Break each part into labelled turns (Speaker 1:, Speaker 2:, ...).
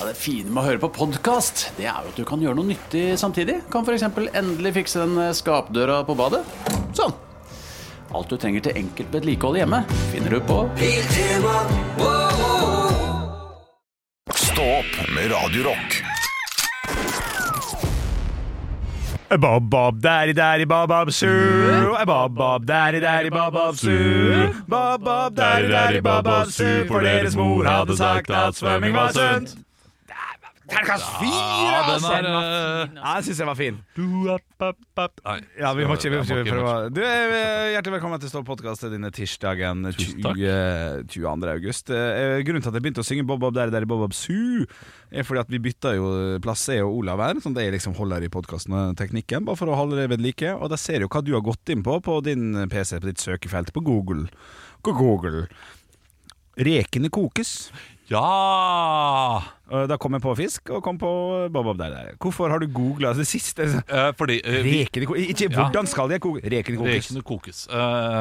Speaker 1: Ja, det fine med å høre på podkast, det er jo at du kan gjøre noe nyttig samtidig. Kan f.eks. endelig fikse den eh, skapdøra på badet. Sånn. Alt du trenger til enkelt vedlikehold hjemme, finner du på
Speaker 2: Stå opp med Radio Rock.
Speaker 3: Bob, bob, daddy, daddy, bob, bob, sue. Bob, bob, daddy, daddy, bob, bob, sue. Bob, bob, daddy, daddy, bob, bob, sue. For deres mor hadde sagt at svømming var sunt. Terningkast fire!
Speaker 4: Ja,
Speaker 3: altså.
Speaker 4: den er eh,
Speaker 3: Ja, jeg syns jeg var fin.
Speaker 4: Nei.
Speaker 3: Ja, vi må ikke, vi må ikke
Speaker 4: Jeg må ikke
Speaker 3: prøve å- Du, eh, Hjertelig velkommen til Stå podkast til denne tirsdagen
Speaker 4: Tusen
Speaker 3: 20, 22. august. Eh, Grunnen til at jeg begynte å synge Bob Bob Daddy Daddy Bob Bob Sue, er fordi at vi bytta jo plass, jeg og Olav her, som jeg liksom holder i podkasten-teknikken, bare for å holde det ved like. Og de ser jo hva du har gått inn på på din PC, på ditt søkefelt, på Google. På Google. Rekene kokes.
Speaker 4: Ja!
Speaker 3: Eh, Da kom jeg på fisk, og kom på Bob Bob Daddy Daddy. Hvorfor har du googla det siste?
Speaker 4: Eh, fordi eh, vi-
Speaker 3: Rekene kokes Ikke
Speaker 4: Ja.
Speaker 3: hvordan skal jeg koke Rekene kokes.
Speaker 4: rekene kokes. Eh,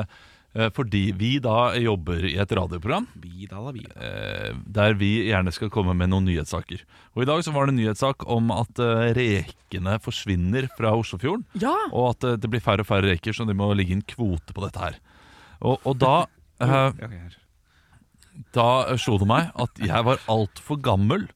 Speaker 4: eh, fordi vi da jobber i et radioprogram
Speaker 3: Vidala, vidala.
Speaker 4: eh, der vi gjerne skal komme med noen nyhetssaker. Og i dag så var det en nyhetssak om at eh, rekene forsvinner fra Oslofjorden.
Speaker 5: Ja!
Speaker 4: Og at eh, det blir færre og færre reker, så det må ligge en kvote på dette her. Og, og da, eh, da slo det meg at jeg var altfor gammel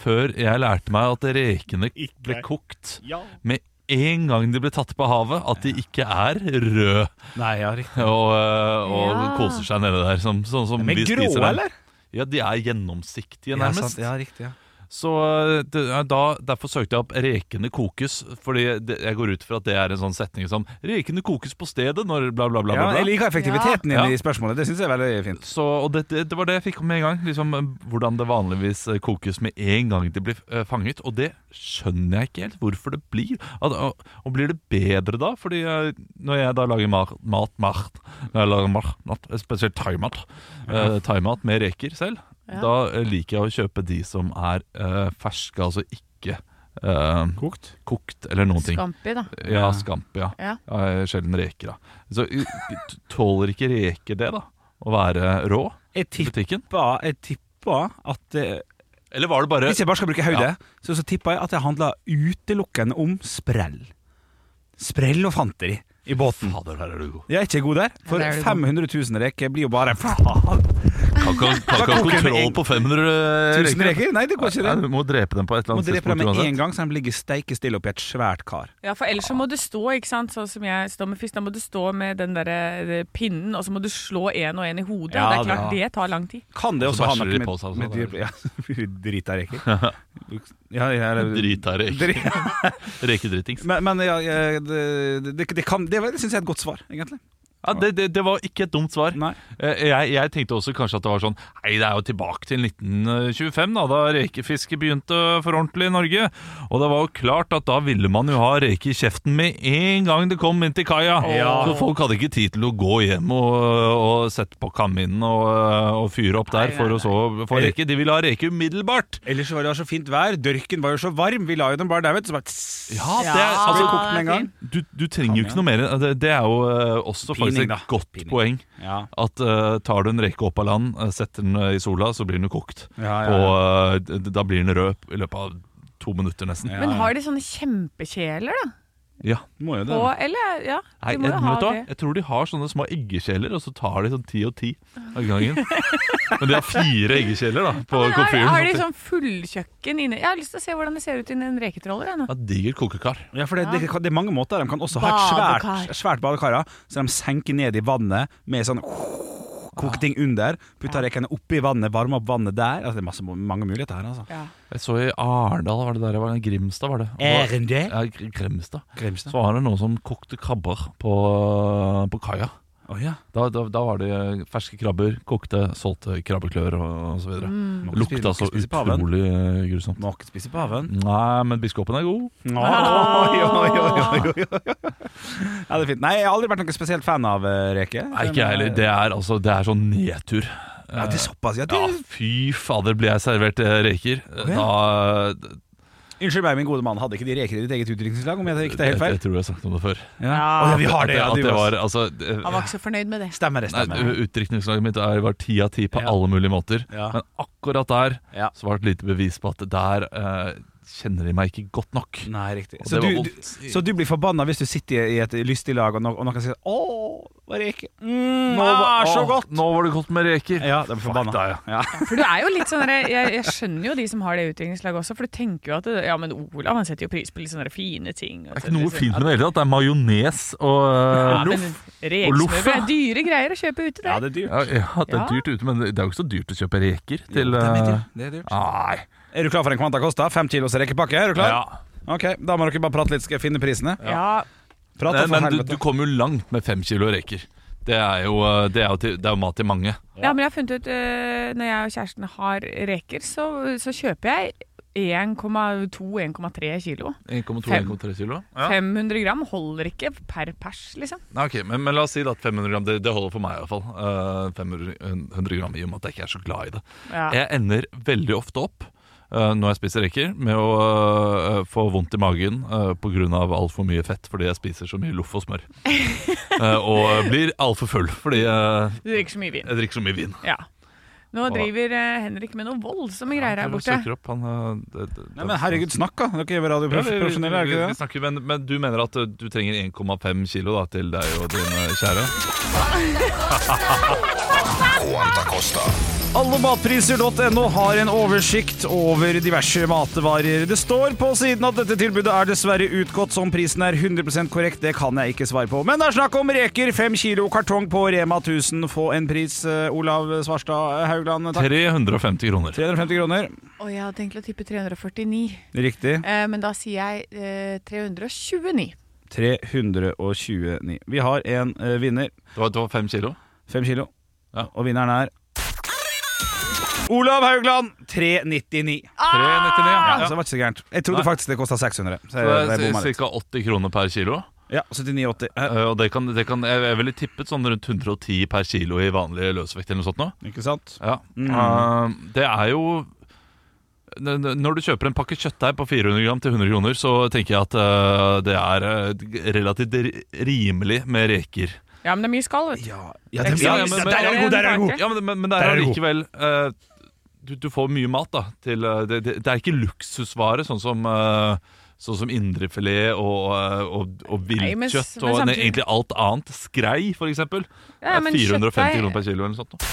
Speaker 4: før jeg lærte meg at rekene ble kokt med en gang de ble tatt på havet, at de ikke er røde
Speaker 3: Nei, ja, riktig.
Speaker 4: og, eh, og
Speaker 5: Ja.
Speaker 4: koser seg nede der. Som, sånn som
Speaker 3: Men
Speaker 4: vi
Speaker 3: grå,
Speaker 4: spiser dem.
Speaker 3: eller?
Speaker 4: Ja, de er gjennomsiktige, nærmest.
Speaker 3: Ja, riktig, ja.
Speaker 4: Så eh, det, er da, Derfor søkte jeg opp 'rekene kokes', Fordi det, jeg går ut fra at det er en sånn setning som 'rekene kokes på stedet' når bla, bla, bla. bla,
Speaker 3: Ja,
Speaker 4: bla.
Speaker 3: jeg liker effektiviteten
Speaker 4: Ja.
Speaker 3: din i spørsmålet. Det syns jeg er veldig fint.
Speaker 4: Så, og det, det, det var det jeg fikk med en gang. Liksom, eh, hvordan det vanligvis eh, kokes med en gang det blir eh, fanget. Og det skjønner jeg ikke helt hvorfor det blir. At, og, og blir det bedre da? Fordi eh, når jeg da lager mar, mat, mart, eller mar, mat, spesielt thaimat, eh, thaimat med reker selv,
Speaker 5: Ja.
Speaker 4: da eh, liker jeg å kjøpe de som er eh, ferske, altså ikke eh,
Speaker 3: Kokt?
Speaker 4: kokt eller noen ting.
Speaker 5: Scampi, da.
Speaker 4: Ja, skamp, ja.
Speaker 5: Ja.
Speaker 4: Eh, Sjelden reker, da. Så eh, tåler ikke reker det, da? Å være rå?
Speaker 3: Jeg tippa,
Speaker 4: butikken?
Speaker 3: jeg tippa at eh,
Speaker 4: Eller var det bare
Speaker 3: Hvis jeg bare skal bruke hodet, så, så tippa jeg at jeg handla utelukkende om sprell. Sprell og fanteri i båten.
Speaker 4: Fader, her er du god.
Speaker 3: Jeg er ikke god der, for
Speaker 5: Ja, der er du god.
Speaker 3: 500 000 reker blir jo bare faen.
Speaker 4: Kan ikke kan ikke ha
Speaker 3: koke med
Speaker 4: kontroll
Speaker 3: en-
Speaker 4: på 500
Speaker 3: Tusen reker? Nei, det går ikke.
Speaker 4: Nei,
Speaker 3: det
Speaker 4: Du må drepe dem på et eller
Speaker 3: Må
Speaker 4: annet
Speaker 3: drepe dem
Speaker 4: tidspunkt
Speaker 3: med
Speaker 4: uansett.
Speaker 3: en gang, så de ligger steike stille oppi et svært kar.
Speaker 5: Ja, for ellers så må du stå, ikke sant, sånn som jeg står med fisk. Da må du stå med den der eh, pinnen, og så må du slå én og én i hodet.
Speaker 3: Ja,
Speaker 5: og det er klart,
Speaker 3: det-
Speaker 5: det tar lang tid.
Speaker 3: Kan det
Speaker 4: Og
Speaker 3: også
Speaker 4: så
Speaker 3: ha
Speaker 4: bæsjer
Speaker 3: noe
Speaker 4: de
Speaker 3: med,
Speaker 4: på seg, altså.
Speaker 3: med dyr Ja, drit av reker. Ja, ja, eller-
Speaker 4: Drit av reker.
Speaker 3: Drit-
Speaker 4: Rekedritings.
Speaker 3: Men, men ja, ja, det, det, det, kan, det var- det syns jeg er et godt svar, egentlig.
Speaker 4: Ja, det, det, det var ikke et dumt svar.
Speaker 3: Nei.
Speaker 4: Eh, Jeg, jeg tenkte også kanskje at det var sånn Nei, det er jo tilbake til 1925, da, da rekefiske begynte for ordentlig i Norge. Og det var jo klart at da ville man jo ha reke i kjeften med en gang det kom inn til kaia.
Speaker 3: Ja.
Speaker 4: Så folk hadde ikke tid til å gå hjem og, og sette på kaminen og, og fyre opp der for å så få reke. De ville ha reke umiddelbart.
Speaker 3: Ellers så var det jo så fint vær, dørken var jo så varm, vi la jo dem bare der, vet du. Så bare tss,
Speaker 4: Ja, det er, altså,
Speaker 3: kokt med en gang.
Speaker 4: du, du trenger jo ikke noe mer. Det, det er jo eh, også
Speaker 3: Pining,
Speaker 4: faktisk
Speaker 3: da.
Speaker 4: et godt
Speaker 3: Pining.
Speaker 4: poeng.
Speaker 3: Ja.
Speaker 4: At eh, tar du en reke opp av land, eh, setter den eh, i sola, så blir den jo kokt.
Speaker 3: Ja, ja,
Speaker 4: Og eh, d- da blir den rød i løpet av to minutter, nesten.
Speaker 3: Ja.
Speaker 5: Men har de sånne kjempekjeler, da?
Speaker 4: Ja.
Speaker 3: Må jo det.
Speaker 5: På, eller? Ja,
Speaker 4: Nei,
Speaker 5: de må
Speaker 4: jeg,
Speaker 5: jo ha
Speaker 4: vet du hva?
Speaker 5: det.
Speaker 4: jeg tror de har sånne små eggekjeler, og så tar de sånn ti og ti av gangen. Men de har fire eggekjeler da på
Speaker 5: Men har,
Speaker 4: komfyren.
Speaker 5: har de
Speaker 4: sånn at-
Speaker 5: sånn fullkjøkken inne Jeg har lyst til å se hvordan det ser ut inni en reketroller. Jeg, nå.
Speaker 4: Ja, digert kokekar.
Speaker 3: Ja, for det, det, kan- det er mange måter. De kan også ha et svært,
Speaker 5: Badekar.
Speaker 3: svært badekar, ja, så de senker ned i vannet med sånn Koke ting under, putte rekene oppi vannet, varme opp vannet der. Altså, det er masse, mange muligheter her, altså.
Speaker 5: Ja.
Speaker 4: Jeg så i Arendal, var det der jeg var? Grimstad, var det? Og-
Speaker 3: Erende?
Speaker 4: Ja, Gr- Grimstad. Så
Speaker 3: Grimstad.
Speaker 4: var det noen som kokte krabber på, på kaia.
Speaker 3: Å ja.
Speaker 4: Da, da, da var det eh, ferske krabber, kokte, solgte krabbeklør og, og så videre.
Speaker 3: Må
Speaker 4: Det
Speaker 3: ikke spise-
Speaker 4: Lukta så
Speaker 3: må ikke spise paven.
Speaker 4: utrolig eh, grusomt.
Speaker 3: Må ikke spise paven.
Speaker 4: Nei, men biskopen er god.
Speaker 3: Oi, oi, oi, oi, oi. Ja, det er fint. Nei, jeg har aldri vært noen spesielt fan av eh, reker.
Speaker 4: Nei, ikke jeg heller. Det er altså Det er sånn nedtur.
Speaker 3: Ja, det er såpass. Ja, du,
Speaker 4: Ja, fy fader, blir jeg servert eh, reker.
Speaker 3: ja.
Speaker 4: Da
Speaker 3: Unnskyld meg, min gode mann, hadde ikke de reker i ditt eget utdrikningslag? Om jeg ikke tar helt
Speaker 4: Jeg,
Speaker 3: feil?
Speaker 4: jeg tror jeg har sagt om det før.
Speaker 3: Ja. Å, ja, vi har det, ja,
Speaker 4: at
Speaker 3: du
Speaker 4: det
Speaker 3: også.
Speaker 4: var, altså, det-
Speaker 5: Han var ikke så fornøyd med det.
Speaker 3: Stemmer det,
Speaker 4: Nei,
Speaker 3: stemmer det.
Speaker 4: Utdrikningslaget mitt er- var ti av ti på
Speaker 3: Ja.
Speaker 4: alle mulige måter.
Speaker 3: Ja.
Speaker 4: Men akkurat der
Speaker 3: Ja.
Speaker 4: så var det et lite bevis på at der eh, kjenner de meg ikke godt nok.
Speaker 3: Nei, riktig.
Speaker 4: Og
Speaker 3: Mm. Så
Speaker 4: det var
Speaker 3: du, du,
Speaker 4: vondt.
Speaker 3: så du blir forbanna hvis du sitter i et lystig lag, og, no, og noen sier 'Å, reke'. Mm, nå,
Speaker 4: var-
Speaker 3: så
Speaker 4: Åh,
Speaker 3: godt!
Speaker 4: Nå var det godt med reker.
Speaker 3: Ja, da blir
Speaker 4: Fuck
Speaker 3: forbanna.
Speaker 4: deg, ja.
Speaker 3: Ja.
Speaker 5: For du er jo litt sånn der- jeg, jeg skjønner jo de som har det utdrikningslaget også, for du tenker jo at det, Ja, men Olav han setter jo pris på litt sånne fine ting. liksom-
Speaker 4: Det er ikke noe fint med det hele tatt. Det er majones og eh, loff. Og loff,
Speaker 5: Rekesmørbrød
Speaker 4: ja.
Speaker 5: er dyre greier å kjøpe ute,
Speaker 3: ja,
Speaker 5: det.
Speaker 3: det er dyrt.
Speaker 4: Ja, ja, det
Speaker 5: Ja.
Speaker 4: er dyrt ute, men det er jo ikke så dyrt å kjøpe reker til
Speaker 3: Det er mye
Speaker 4: eh,
Speaker 3: dyrt. Det er dyrt.
Speaker 4: Nei.
Speaker 3: Er du klar for en Quanta Costa? Fem kilos rekepakke, er du klar?
Speaker 4: Ja.
Speaker 3: Ok, Da må dere bare prate litt, skal jeg finne prisene.
Speaker 5: Ja,
Speaker 3: Prat da,
Speaker 4: Men,
Speaker 3: for
Speaker 4: men du,
Speaker 3: helvete.
Speaker 4: du kommer jo langt med fem kilo reker. Det er jo, eh, det er jo, til, det er jo mat til mange.
Speaker 5: ja, men jeg har funnet ut eh, Når jeg og kjæresten har reker, så, så kjøper jeg 1,2-1,3 kilo.
Speaker 4: 1,2-1,3 kilo.
Speaker 5: 500 gram holder ikke per pers, liksom.
Speaker 4: Nei, ok, men, men la oss si da at 500 gram, det, det holder for meg i hvert fall. Eh, 500 gram i og med at jeg ikke er så glad i det.
Speaker 5: Ja.
Speaker 4: Jeg ender veldig ofte opp eh, når jeg spiser reker, med å eh, få vondt i magen eh, på grunn av alt for mye fett, fordi jeg spiser så mye loff og smør. Eh, og blir alt for full, fordi eh,
Speaker 5: Du drikker så mye vin.
Speaker 4: jeg drikker så mye vin.
Speaker 5: Ja. Nå
Speaker 4: Hva da?
Speaker 5: driver eh, Henrik med noe voldsomme greier her
Speaker 4: Han
Speaker 5: borte.
Speaker 4: søker opp, han, eh, det- det-
Speaker 3: Nei, men herregud, snakk, da! Dere er jo
Speaker 4: Ja, vi, vi, vi,
Speaker 3: radioprofesjonelle, er
Speaker 4: vi,
Speaker 3: dere ikke det?
Speaker 4: snakker, men, men du mener at eh, du trenger 1,5 kilo da, til deg og din eh, kjære?
Speaker 6: Quanta Costa.
Speaker 3: Allematpriser.no har en oversikt over diverse matvarer. Det står på siden at dette tilbudet er dessverre utgått som prisen er 100 korrekt. Det kan jeg ikke svare på. Men det er snakk om reker. Fem kilo kartong på Rema 1000. Få en pris, eh, Olav Svarstad Haugland. Takk.
Speaker 4: 350 kroner.
Speaker 3: 350 kroner.
Speaker 5: Og jeg hadde tenkt å tippe 349,
Speaker 3: Riktig.
Speaker 5: eh, men da sier jeg eh, 329.
Speaker 3: 329. Vi har en eh, vinner.
Speaker 4: Det var, det var 5 kilo?
Speaker 3: Fem kilo.
Speaker 4: Ja.
Speaker 3: Og vinneren er Olav Haugland. 399.
Speaker 4: Ah! 399,
Speaker 3: Ja,
Speaker 4: ja.
Speaker 3: Så det var ikke så gærent. Jeg trodde
Speaker 4: Nei.
Speaker 3: faktisk det kosta 600. Så jeg,
Speaker 4: Så
Speaker 3: jeg
Speaker 4: det
Speaker 3: bomma
Speaker 4: er
Speaker 3: litt.
Speaker 4: ca. 80 kroner per kilo.
Speaker 3: Ja, 79,80. Eh,
Speaker 4: Eh, Og det kan, det kan, jeg jeg ville tippet sånn rundt 110 per kilo i vanlig løsvekt eller noe sånt. Nå.
Speaker 3: Ikke sant?
Speaker 4: Ja. Eh, det er jo n- n- Når du kjøper en pakke kjøttdeig på 400 gram til 100 kroner, så tenker jeg at eh, det er eh, relativt ri- rimelig med reker.
Speaker 5: Ja, men det er mye skall, vet du.
Speaker 3: Ja,
Speaker 5: det-
Speaker 4: ja, men- men-
Speaker 3: Der er du god, der er du god!
Speaker 4: Ja, men, men, men det
Speaker 3: Der
Speaker 4: er
Speaker 3: er du god.
Speaker 4: allikevel eh, du, du får mye mat, da. Til, eh, det, det, det er ikke luksusvare, sånn som eh, Sånn som indrefilet og, eh, og, og
Speaker 5: Nei, men s-
Speaker 4: viltkjøtt
Speaker 5: men
Speaker 4: og
Speaker 5: samtidig-
Speaker 4: ne- egentlig alt annet. Skrei, for eksempel.
Speaker 5: Ja,
Speaker 4: Det
Speaker 5: men
Speaker 4: er 450
Speaker 5: kjøttdeig-
Speaker 4: kroner per kilo eller noe sånt. da.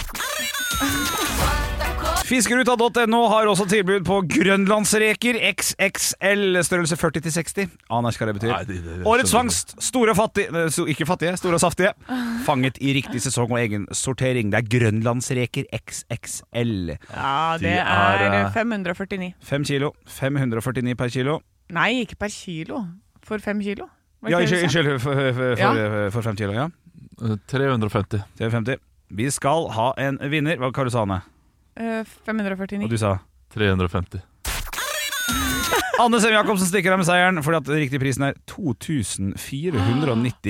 Speaker 3: Fiskeruta.no har også tilbud på grønlandsreker XXL størrelse 40-60. Aner ikke hva det betyr.
Speaker 4: Nei, det- det- det
Speaker 3: Årets
Speaker 4: skjønner
Speaker 3: fangst. Store og fattige nei, so- Ikke fattige, store og saftige. Fanget i riktig sesong og egen sortering. Det er grønlandsreker XXL.
Speaker 5: Ja,
Speaker 4: De
Speaker 5: det
Speaker 4: er,
Speaker 5: er
Speaker 4: eh,
Speaker 5: 549.
Speaker 3: Fem kilo. 549 per kilo.
Speaker 5: Nei, ikke per kilo. For fem kilo. Var
Speaker 3: Ja,
Speaker 5: ikke
Speaker 3: unnskyld,
Speaker 5: det du sa?
Speaker 3: unnskyld for, for, for,
Speaker 5: Ja.
Speaker 3: for fem kilo. Ja.
Speaker 4: Eh, 350.
Speaker 3: 350. Vi skal ha en vinner. Hva hva du sa Anne?
Speaker 5: Eh,
Speaker 3: Og
Speaker 5: 549.
Speaker 3: du sa?
Speaker 4: 350.
Speaker 3: Anne Sem Jacobsen stikker av med seieren fordi at riktig prisen er 2490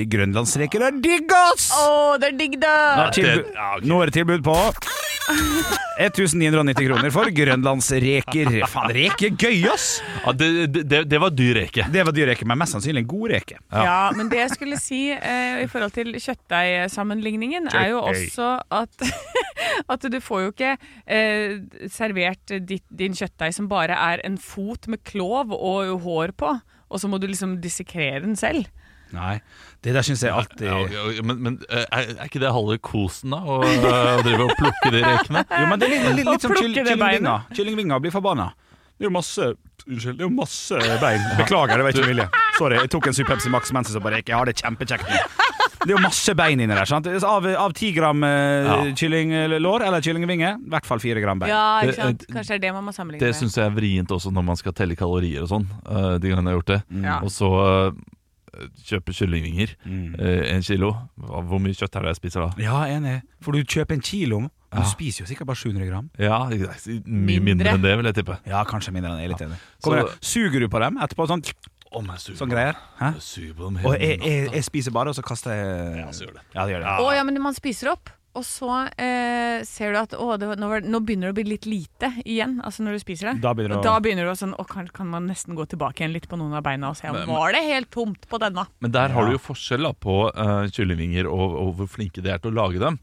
Speaker 3: grønlandsreker. Det er digg, ass!
Speaker 5: Å, det er digg, da!
Speaker 3: Nå er det tilbud, nå er det tilbud på 1990 kroner for grønlandsreker. Faen, reke er gøy, ass!
Speaker 4: Ja, det, det, det, det var dyr reke.
Speaker 3: Det var dyr reke, men mest sannsynlig en god reke.
Speaker 5: Ja. men det jeg skulle si eh, i forhold til kjøttdeigsammenligningen, er jo også at, at du får jo ikke eh, servert ditt, din kjøttdeig som bare er en fot med klov og hår på, og så må du liksom dissekrere den selv.
Speaker 3: Nei, det der syns jeg alltid
Speaker 4: Ja, ja, ja, men men eh, er, er ikke det halve kosen, da? Å eh, drive og plukke de rekene?
Speaker 3: Jo, men det er litt, litt,
Speaker 5: Og
Speaker 3: litt som kyll-
Speaker 5: plukker det
Speaker 3: kyllingvinger. Kyllingvinger blir forbanna. Det er jo masse Unnskyld, det er jo masse bein. Beklager, det var ikke min vilje. Sorry, jeg tok en Super Pepsi Max mens jeg så på reke. Jeg har det kjempekjekt nå. Det er jo masse bein inni der. sant? Av, av 10 gram eh,
Speaker 4: Ja.
Speaker 3: kyllinglår eller kyllingvinge, i hvert fall 4 gram bein.
Speaker 5: Ja,
Speaker 4: Det-
Speaker 5: ikke sant?
Speaker 4: eh,
Speaker 5: Kanskje det er det man må sammenligne
Speaker 4: Det syns jeg er vrient også når man skal telle kalorier og sånn. eh, de gangene jeg har gjort det.
Speaker 5: Ja.
Speaker 4: Og så eh, kjøpe kyllingvinger. eh, En kilo. Hva- Hvor mye kjøtt er det jeg spiser da?
Speaker 3: Ja, enig. For du kjøper en kilo, men du spiser jo sikkert bare 700 gram.
Speaker 4: Ja, det er ikke- Mye mindre enn det, vil jeg tippe.
Speaker 3: Ja, kanskje mindre enn jeg er litt enig. Kommer
Speaker 4: Så-
Speaker 3: det- Suger du på dem etterpå? Sånn,
Speaker 4: Å, men jeg suger
Speaker 3: sånn
Speaker 4: på
Speaker 3: greier? Hæ?
Speaker 4: dem. Jeg suger på dem
Speaker 3: Og
Speaker 4: hele
Speaker 3: jeg, jeg,
Speaker 4: natta.
Speaker 3: jeg spiser bare, og så kaster jeg
Speaker 4: Ja, så gjør det.
Speaker 3: Ja, det gjør det.
Speaker 5: Å ja, men man spiser opp. og så eh, ser du at å, det, var- nå, var, nå begynner det å bli litt lite igjen, altså når du spiser det.
Speaker 3: Da begynner det å-
Speaker 5: og da begynner du å sånn, å, kan, kan man nesten gå tilbake igjen litt på noen av beina og se om
Speaker 4: Men-
Speaker 5: var det helt tomt på denne.
Speaker 4: Men der har du jo forskjell da, på eh, kyllingvinger og, og hvor flinke de er til å lage dem.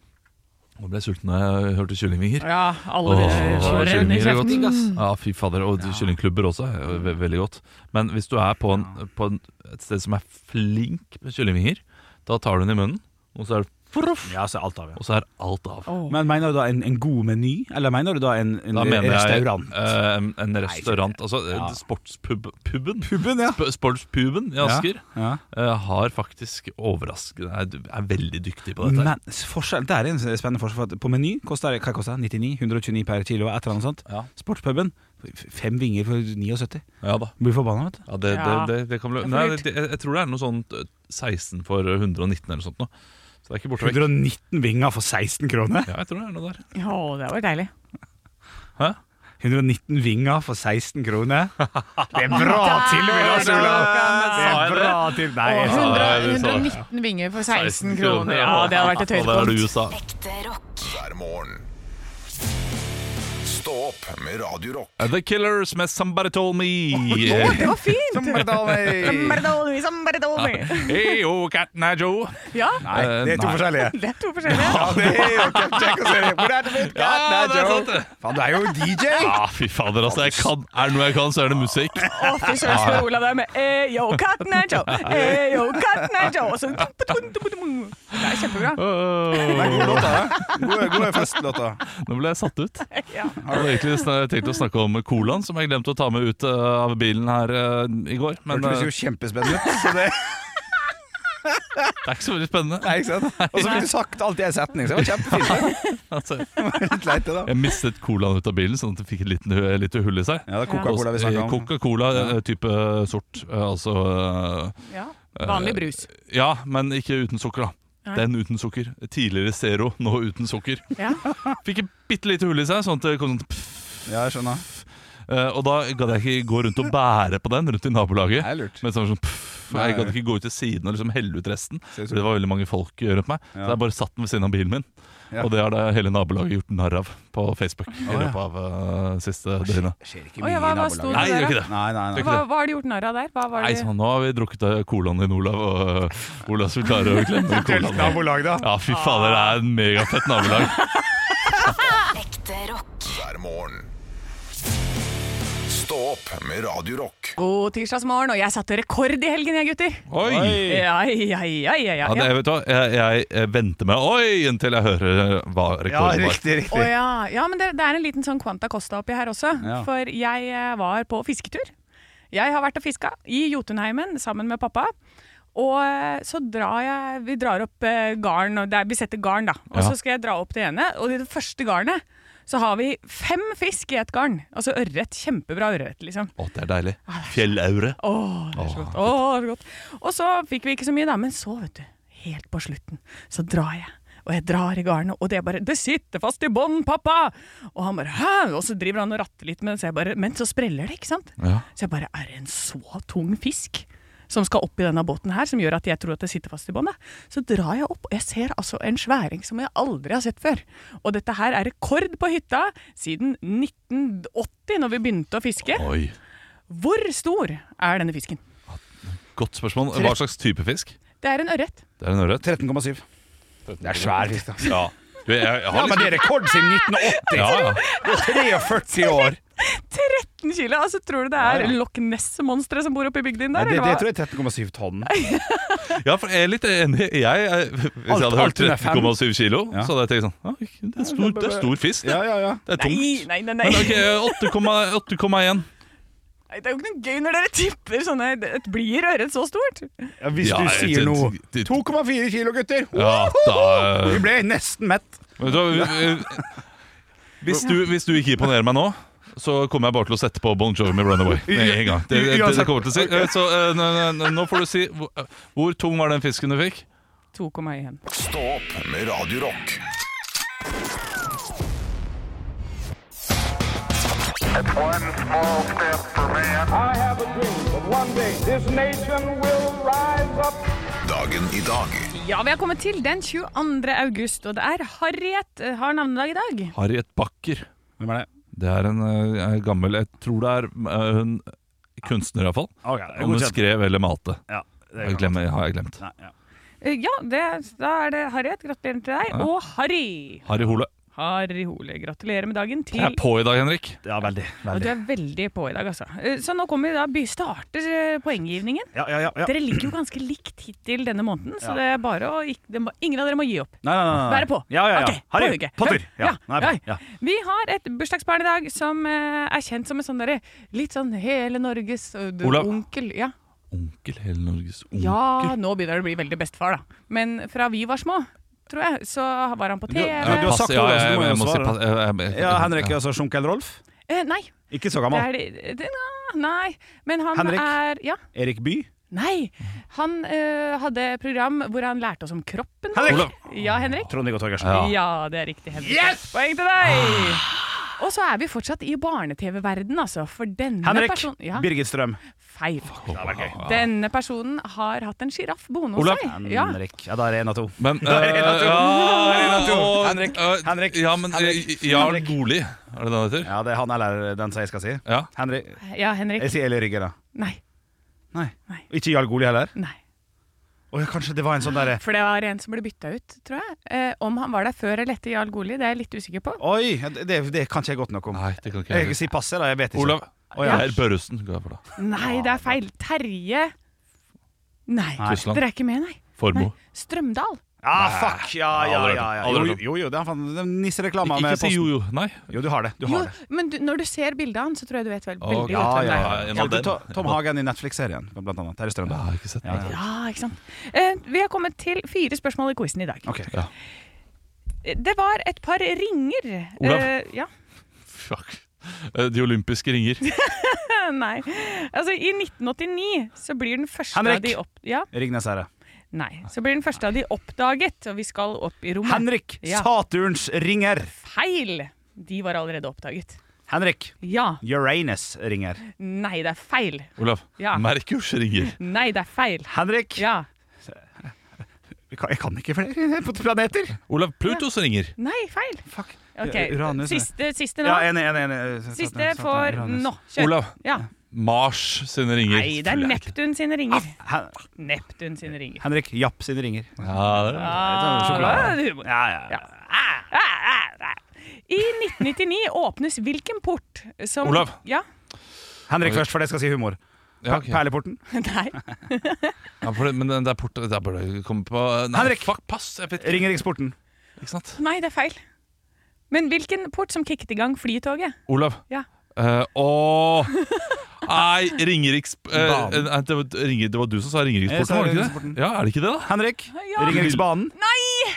Speaker 4: Nå ble jeg sulten da jeg hørte kyllingvinger.
Speaker 5: Ja, alle
Speaker 4: Åh, kyllingvinger er godt.
Speaker 5: Mm.
Speaker 4: Ja, fy fader. Og kyllingklubber også er jo ve veldig godt. Men hvis du er på, en, på en, et sted som er flink med kyllingvinger, da tar du den i munnen, og så er, det,
Speaker 3: Proff! Ja, så er alt av, ja.
Speaker 4: og så er alt av.
Speaker 3: Men mener du da en, en god meny, eller mener du da en, en
Speaker 4: Da mener jeg
Speaker 3: restaurant?
Speaker 4: eh, en- en restaurant. Altså eh, sportspuben.
Speaker 3: Puben, ja.
Speaker 4: Sp- Sportspuben i Asker
Speaker 3: ja.
Speaker 4: eh, har faktisk overraskende er, er veldig dyktig på dette. her.
Speaker 3: Men forskjell, det er en spennende forskjell. For at på Meny koster det hva koster det? 99? 129 per kilo? Et eller annet sånt.
Speaker 4: Ja.
Speaker 3: Sportspuben f- fem vinger for 79.
Speaker 4: Ja da.
Speaker 3: Blir forbanna, vet du.
Speaker 4: Ja, det,
Speaker 5: Ja.
Speaker 4: Det, det, det kan bli
Speaker 5: Det er for
Speaker 4: Nei,
Speaker 5: dyrt.
Speaker 4: det, jeg, jeg tror det er noe sånt eh, 16 for 119 eller noe sånt nå. Så det er ikke borte vekk.
Speaker 3: 119 vinger for 16 kroner?
Speaker 4: Ja, jeg tror det er noe der.
Speaker 5: Å, det var deilig.
Speaker 3: 119 vinger for 16 kroner? Det er bra tilbud, altså, Olav! Det
Speaker 4: Sa
Speaker 3: er
Speaker 4: jeg det?
Speaker 3: bra til Nei, altså, jeg
Speaker 5: Og
Speaker 3: sa det.
Speaker 5: 100,
Speaker 4: det sa jeg.
Speaker 5: 119 vinger for 16 kroner. Ja, det hadde vært et
Speaker 4: Og det er det
Speaker 5: høydepunkt.
Speaker 4: USA.
Speaker 2: Ekte rock.
Speaker 7: hver morgen. Stå opp med Radio Rock.
Speaker 4: Uh, The Killers med Somebody Told Me.
Speaker 5: Det var fint! Somebody told me, somebody told me.
Speaker 4: Hey, oh, Cat Nat Joe.
Speaker 5: Ja,
Speaker 3: Nei, det er to
Speaker 4: Nei.
Speaker 3: forskjellige.
Speaker 5: det er to forskjellige.
Speaker 3: Ja, det er jo Captain Jack og Siri. Hvor er det mitt
Speaker 4: Ja,
Speaker 3: Captain
Speaker 4: det er
Speaker 3: Joe?
Speaker 4: sant, det.
Speaker 3: Faen, du er jo DJ!
Speaker 4: Ah, fy fader, altså. Jeg kan, er det noe jeg kan, så er det musikk.
Speaker 5: Å, fy søren, så Olav der med eh, yo, Cat Nat Joe, eh, yo, Cat Nat Joe. Og så Det er kjempebra.
Speaker 4: Åh,
Speaker 3: Gode låter, gode, gode festlåter.
Speaker 4: nå ble jeg satt ut.
Speaker 5: Ja.
Speaker 4: Jeg hadde egentlig sn- tenkt å snakke om colaen, som jeg glemte å ta med ut eh, av bilen her eh, i går. Men
Speaker 3: Hørtes
Speaker 4: eh,
Speaker 3: jo kjempespennende ut. Så det,
Speaker 4: det er ikke så veldig spennende.
Speaker 3: nei, ikke sant? Og så fikk du sagt alt i en setning, så det var kjempefint.
Speaker 4: Altså,
Speaker 3: Det. Litt leit, det, da.
Speaker 4: Jeg mistet colaen ut av bilen, sånn at det fikk et liten, hu- lite hull i seg.
Speaker 3: Ja, det er Coca-Cola vi snakker om.
Speaker 4: Coca-Cola, eh, type sort. eh, Altså eh,
Speaker 5: Ja. Vanlig brus.
Speaker 4: Ja, men ikke uten sukker, da.
Speaker 5: Nei.
Speaker 4: Den uten sukker. Tidligere Zero, nå uten sukker.
Speaker 5: Ja.
Speaker 4: Fikk et bitte lite hull i seg, sånn at det kom sånn pff,
Speaker 3: Ja, jeg skjønner.
Speaker 4: eh, Og da gadd jeg ikke gå rundt og bære på den rundt i nabolaget.
Speaker 3: Det er lurt.
Speaker 4: Men sånn sånn pff,
Speaker 3: Nei.
Speaker 4: Jeg gadd ikke gå ut til siden og liksom helle ut resten.
Speaker 3: Ser ut
Speaker 4: For det
Speaker 3: som-
Speaker 4: var veldig mange folk eh, rundt meg.
Speaker 3: Ja.
Speaker 4: Så jeg bare satt den ved siden av bilen min.
Speaker 3: Ja.
Speaker 4: Og det har da hele nabolaget gjort narr av på Facebook i løpet av eh, siste døgnet.
Speaker 3: Skjer ikke
Speaker 5: Oi,
Speaker 3: mye i
Speaker 5: hva- hva sto
Speaker 3: nabolaget.
Speaker 4: Nei, det gjør ikke det.
Speaker 3: Nei, nei, nei.
Speaker 5: Hva, hva har de gjort narr av der? Hva var
Speaker 4: Nei,
Speaker 5: det?
Speaker 4: sånn, nå har vi drukket eh, colaen din, Olav, og eh, Olav skulle klare å glemme
Speaker 3: Delt
Speaker 4: colaen.
Speaker 3: nabolag, da.
Speaker 4: Ja, fy fader, det er en megafett nabolag.
Speaker 2: Ekte rock.
Speaker 7: hver morgen. Stå opp med Radio Rock.
Speaker 5: God tirsdagsmorgen, og jeg satte rekord i helgen, jeg, gutter.
Speaker 4: Oi!
Speaker 5: Ja, ja, ja, ja, ja.
Speaker 4: Ja, det,
Speaker 5: ja.
Speaker 4: vet du, hva, jeg, jeg eh, venter med oi inntil jeg hører eh, hva
Speaker 3: Ja,
Speaker 4: rekorden var.
Speaker 3: riktig,
Speaker 5: Å
Speaker 3: riktig.
Speaker 5: ja. ja, men det, det er en liten sånn Quanta Costa oppi her også.
Speaker 3: Ja.
Speaker 5: For jeg eh, var på fisketur. Jeg har vært og fiska i Jotunheimen sammen med pappa. Og eh, så drar jeg Vi drar opp eh, garn, og det er, vi setter garn, da. Og
Speaker 4: Ja.
Speaker 5: så skal jeg dra opp det ene. Og i det første garnet så har vi fem fisk i ett garn. Altså ørret. Kjempebra ørret, liksom.
Speaker 4: Å, det er deilig. Fjellaure.
Speaker 5: Åh, det er så godt. Åh, det er så godt. Og så fikk vi ikke så mye, da. Men så, vet du, helt på slutten, så drar jeg. Og jeg drar i garnet, og det bare 'Det sitter fast i bånn, pappa!' Og han bare 'hæ?' Og så driver han og ratter litt med det, så jeg bare Men så spreller det, ikke sant?
Speaker 4: Ja.
Speaker 5: Så jeg bare Er det en så tung fisk som skal opp i denne båten her, som gjør at jeg tror at det sitter fast i båndet? Så drar jeg opp, og jeg ser altså en sværing som jeg aldri har sett før. Og dette her er rekord på hytta siden 1980, når vi begynte å fiske.
Speaker 4: Oi.
Speaker 5: Hvor stor er denne fisken?
Speaker 4: Godt spørsmål. Hva slags type fisk?
Speaker 5: Det er en ørret.
Speaker 4: Det er en ørret.
Speaker 3: 13,7. Det er svær fisk, da.
Speaker 4: Ja. Du, jeg, jeg
Speaker 3: Ja,
Speaker 4: har
Speaker 3: men
Speaker 4: liksom
Speaker 3: det er rekord siden 1980!
Speaker 4: ja, ja.
Speaker 3: 43 år!
Speaker 5: 13 kilo! Altså, tror du det er Loch Ness-monsteret som bor oppe i bygda din
Speaker 3: Nei,
Speaker 5: der?
Speaker 3: det, det
Speaker 5: eller hva?
Speaker 3: tror jeg er 13,7 tonn.
Speaker 4: ja, for jeg er litt enig. Jeg, eh, hvis jeg hadde hørt
Speaker 3: alt under fem.
Speaker 4: 13,7 kilo,
Speaker 3: Ja.
Speaker 4: så hadde jeg tenkt sånn «Oi, Det er stor, det er stor fisk, det.
Speaker 3: Ja, ja, ja.
Speaker 4: Det er tungt.
Speaker 5: Nei, nei, nei,
Speaker 4: Men
Speaker 5: nei.
Speaker 4: ok, 8,1 8,1.
Speaker 5: Nei, Det er jo ikke noe gøy når dere tipper sånne det Blir ørret så stort?
Speaker 3: Ja, hvis
Speaker 4: Ja,
Speaker 3: du
Speaker 4: jeg-
Speaker 3: sier noe
Speaker 4: det-
Speaker 3: 2,4 kilo, gutter!
Speaker 4: Ja, da eh,
Speaker 3: Vi ble nesten mett.
Speaker 4: Vet du hva, vi- vi- hvis, du, hvis du ikke imponerer meg nå så kommer jeg bare til å sette på Bon Jovi med 'Runaway' med en gang. Det, det, det, det kommer jeg til å si Eh, Så eh, nå- nå- nå får du si hvor, eh, hvor tung var den fisken du fikk?
Speaker 5: 2,1.
Speaker 7: Stå opp med Radio Rock.
Speaker 8: I have a dream that one day this nation will rise up
Speaker 7: Dagen i dag.
Speaker 5: Ja, vi har kommet til den 22. august, og det er Harriet eh, har navnedag i dag.
Speaker 4: Harriet Bakker.
Speaker 3: Hvem er det?
Speaker 4: Det er en eh, gammel Jeg tror det er eh, hun kunstner, iallfall.
Speaker 3: Ok, det er
Speaker 4: Om hun
Speaker 3: godkjent.
Speaker 4: skrev eller malte.
Speaker 3: Ja, det
Speaker 4: Jeg
Speaker 3: kan
Speaker 4: glemmer, har jeg glemt.
Speaker 3: Nei, ja.
Speaker 5: Eh, Ja, det, da er det Harriet. Gratulerer til deg. Og Harry.
Speaker 4: Harry Hole.
Speaker 5: Harry Hole, gratulerer med dagen til
Speaker 4: Jeg er på i dag, Henrik.
Speaker 3: ja, veldig.
Speaker 5: Og du
Speaker 3: veldig.
Speaker 5: er veldig på i dag, altså. Eh, Så nå kommer vi da, by- starter eh, poenggivningen.
Speaker 3: Ja, ja, ja, ja.
Speaker 5: Dere ligger jo ganske likt hittil denne måneden, så det er bare å ikke, det må, Ingen av dere må gi opp.
Speaker 3: Nei, nei, nei, nei.
Speaker 5: Være på.
Speaker 3: Ja, ja, ja.
Speaker 5: Ok,
Speaker 3: Harry
Speaker 5: på hugget.
Speaker 3: Potter. Ja.
Speaker 5: Ja,
Speaker 3: Nei, på.
Speaker 5: ja.
Speaker 3: ja.
Speaker 5: Vi har et bursdagsbarn i dag som eh, er kjent som en sånn derre litt sånn hele Norges eh, du-
Speaker 4: Olav.
Speaker 5: onkel. Ja.
Speaker 4: Onkel, hele Norges onkel.
Speaker 5: ja, nå begynner det å bli veldig bestefar, da. Men fra vi var små, tror jeg, så var han på TV.
Speaker 3: Ja,
Speaker 4: Ja,
Speaker 3: du har
Speaker 4: pass-
Speaker 3: sagt
Speaker 4: ja,
Speaker 3: Olav, så
Speaker 4: jeg,
Speaker 3: du må jo
Speaker 4: jeg må si
Speaker 3: svare.
Speaker 4: pass- jeg- jeg- jeg-
Speaker 3: ja, Henrik, altså Sjunkel Rolf.
Speaker 5: Eh, nei,
Speaker 3: Ikke så
Speaker 5: det
Speaker 3: gammel.
Speaker 5: er det, det, Nei, men han
Speaker 3: Henrik.
Speaker 5: er Ja.
Speaker 3: Erik By.
Speaker 5: Nei, han eh, hadde et program hvor han lærte oss om kroppen. vår.
Speaker 3: Henrik!
Speaker 5: Ja, Henrik.
Speaker 3: Trond-Viggo Torgersen.
Speaker 5: Ja. det er riktig. Henrik. Yes! Poeng til deg! Og så er vi fortsatt i barne-TV-verden, altså. For denne
Speaker 3: Henrik
Speaker 5: personen ja,
Speaker 3: Birgit Strøm.
Speaker 5: Feil.
Speaker 3: Det hadde vært gøy.
Speaker 5: Denne personen har hatt en sjiraff boende hos
Speaker 4: Olav.
Speaker 5: seg. Ja.
Speaker 3: Henrik. Ja, da er det én av to.
Speaker 4: Men eh,
Speaker 3: en av to.
Speaker 4: ja,
Speaker 3: Det er en av to.
Speaker 4: og-
Speaker 3: Henrik,
Speaker 4: eh,
Speaker 3: Henrik,
Speaker 4: Ja, men
Speaker 3: Henrik,
Speaker 4: eh, Jarl
Speaker 3: Henrik.
Speaker 4: Goli, er det det han heter?
Speaker 3: Ja, det er han eller den som jeg skal si.
Speaker 4: Ja.
Speaker 3: Henrik.
Speaker 5: ja, Henrik.
Speaker 3: Jeg sier Eli Rygge, da.
Speaker 5: Nei.
Speaker 3: Nei.
Speaker 5: Nei.
Speaker 3: Ikke Jarl Goli heller?
Speaker 5: Nei.
Speaker 3: Å, ja, kanskje det var en sånn derre
Speaker 5: For det var en som ble bytta ut, tror jeg. Eh, om han var der før eller etter Jarl Goli, det er jeg litt usikker på.
Speaker 3: Oi! ja, Det, det kan ikke jeg godt nok om.
Speaker 4: Nei, det kan ikke
Speaker 3: Jeg
Speaker 4: jeg.
Speaker 3: sier pass, jeg, da. Jeg vet ikke.
Speaker 4: Olav.
Speaker 3: Å, ja.
Speaker 4: Geir Børresen går jeg for, da.
Speaker 5: Nei, det er feil. Terje Nei,
Speaker 4: Kusland.
Speaker 5: dere er ikke med, nei.
Speaker 4: Formoe.
Speaker 5: nei. Strømdal.
Speaker 3: Ah, fuck! Ja, ja, ja. ja. Jo,
Speaker 4: Allerede.
Speaker 3: jo, jo, det er fan- det er nissereklama med
Speaker 4: Ikke si
Speaker 3: posten.
Speaker 4: jo-jo. Nei.
Speaker 3: Jo, du har det. Du
Speaker 5: Jo,
Speaker 3: har det.
Speaker 5: men du, når du ser bildet av han, så tror jeg du vet vel
Speaker 4: Ok.
Speaker 5: veldig
Speaker 3: Ja,
Speaker 5: godt
Speaker 3: ja,
Speaker 5: hvem det er.
Speaker 3: ja.
Speaker 4: Ja, en
Speaker 3: Kalte
Speaker 4: av dem.
Speaker 3: To- Tom Hagen i Netflix-serien, blant annet. Terje
Speaker 4: Jeg
Speaker 3: Strømdal.
Speaker 4: har ikke sett den.
Speaker 3: Ja,
Speaker 5: Ja, ikke sant. Eh, vi har kommet til fire spørsmål i quizen i dag.
Speaker 3: Ok.
Speaker 4: Ja.
Speaker 5: Eh, Det var et par ringer
Speaker 4: Olav.
Speaker 5: Eh, ja.
Speaker 4: Fuck. Eh, De olympiske ringer.
Speaker 5: Nei. Altså, i 1989 så blir den første
Speaker 3: Henrik.
Speaker 5: av de opp... Ja,
Speaker 3: Ringnes Herre.
Speaker 5: nei. Så blir den første av de oppdaget, og vi skal opp i rommet.
Speaker 3: Henrik!
Speaker 5: Ja.
Speaker 3: Saturns ringer.
Speaker 5: Feil! De var allerede oppdaget.
Speaker 3: Henrik.
Speaker 5: Ja.
Speaker 3: Uranus ringer.
Speaker 5: Nei, det er feil.
Speaker 4: Olav.
Speaker 5: Ja.
Speaker 4: Merkurs ringer.
Speaker 5: Nei, det er feil.
Speaker 3: Henrik.
Speaker 5: Ja.
Speaker 3: Jeg kan- Jeg kan ikke flere på planeter.
Speaker 4: Olav Plutos ringer.
Speaker 5: Nei, feil.
Speaker 3: Fuck.
Speaker 5: Ok,
Speaker 3: Uranus, ja.
Speaker 5: Siste, siste nå.
Speaker 3: Ja, enig, enig. enig. Satan,
Speaker 5: Siste
Speaker 3: satan,
Speaker 5: for
Speaker 3: Uranus.
Speaker 5: nå. Kjør.
Speaker 4: Olav.
Speaker 5: Ja.
Speaker 4: Mars sine ringer.
Speaker 5: Nei, det er
Speaker 4: Tuller jeg ikke.
Speaker 5: Neptun sine ringer.
Speaker 3: Hen
Speaker 5: Neptun sine ringer.
Speaker 3: Henrik Japp sine ringer.
Speaker 4: Ja, det er-
Speaker 5: Ah,
Speaker 3: sjokolade.
Speaker 5: det er humor.
Speaker 3: Ja, ja. ja.
Speaker 5: Ah, ah, ah. I 1999 åpnes hvilken port som
Speaker 4: Olav.
Speaker 5: Ja,
Speaker 3: Henrik først, for det skal si humor.
Speaker 4: ja, ok.
Speaker 3: Perleporten.
Speaker 5: nei.
Speaker 4: ja, for det, men den der porten der burde jeg komme på Nei,
Speaker 3: Henrik.
Speaker 4: Fuck, pass! Jeg vet ikke.
Speaker 3: Ringeriksporten.
Speaker 4: ikke sant?
Speaker 5: nei, det er feil. Men hvilken port som kicket i gang flytoget?
Speaker 4: Olav.
Speaker 5: Ja.
Speaker 4: Eh, åh Nei, Ringeriks... eh,
Speaker 3: Banen.
Speaker 4: nei, det, var, Ringer- det var du som sa
Speaker 3: Jeg sa
Speaker 4: Ringeriksporten, var det ikke
Speaker 3: Ringeriksporten.
Speaker 4: det? Ja, er det ikke det, da?
Speaker 3: Henrik.
Speaker 5: Ja.
Speaker 3: Ringeriksbanen.
Speaker 5: Nei!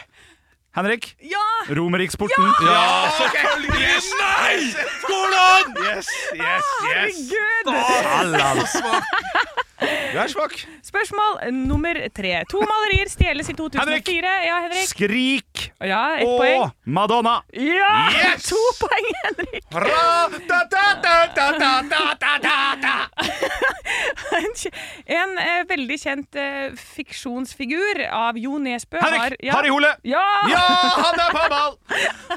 Speaker 3: Henrik.
Speaker 5: Ja!
Speaker 3: Romeriksporten.
Speaker 4: Ja, selvfølgelig! Nei! Hvordan?
Speaker 3: Yes, yes, yes.
Speaker 5: Ah, Herregud!
Speaker 3: Allan. Du er svak.
Speaker 5: Spørsmål nummer tre. To malerier stjeles i 2004.
Speaker 3: Henrik.
Speaker 5: Ja, Henrik.
Speaker 3: Skrik
Speaker 5: Ja, ett poeng.
Speaker 3: og Madonna.
Speaker 5: Ja!
Speaker 3: Yes!
Speaker 5: To poeng, Henrik!
Speaker 3: Ra, da, da, da, da, da, da, da, da, da.
Speaker 5: En, kje- en eh, veldig kjent eh, fiksjonsfigur av Jo Nesbø har
Speaker 3: Henrik.
Speaker 5: ja.
Speaker 3: Harry Hole.
Speaker 5: Ja!
Speaker 3: Ja, han er på ball!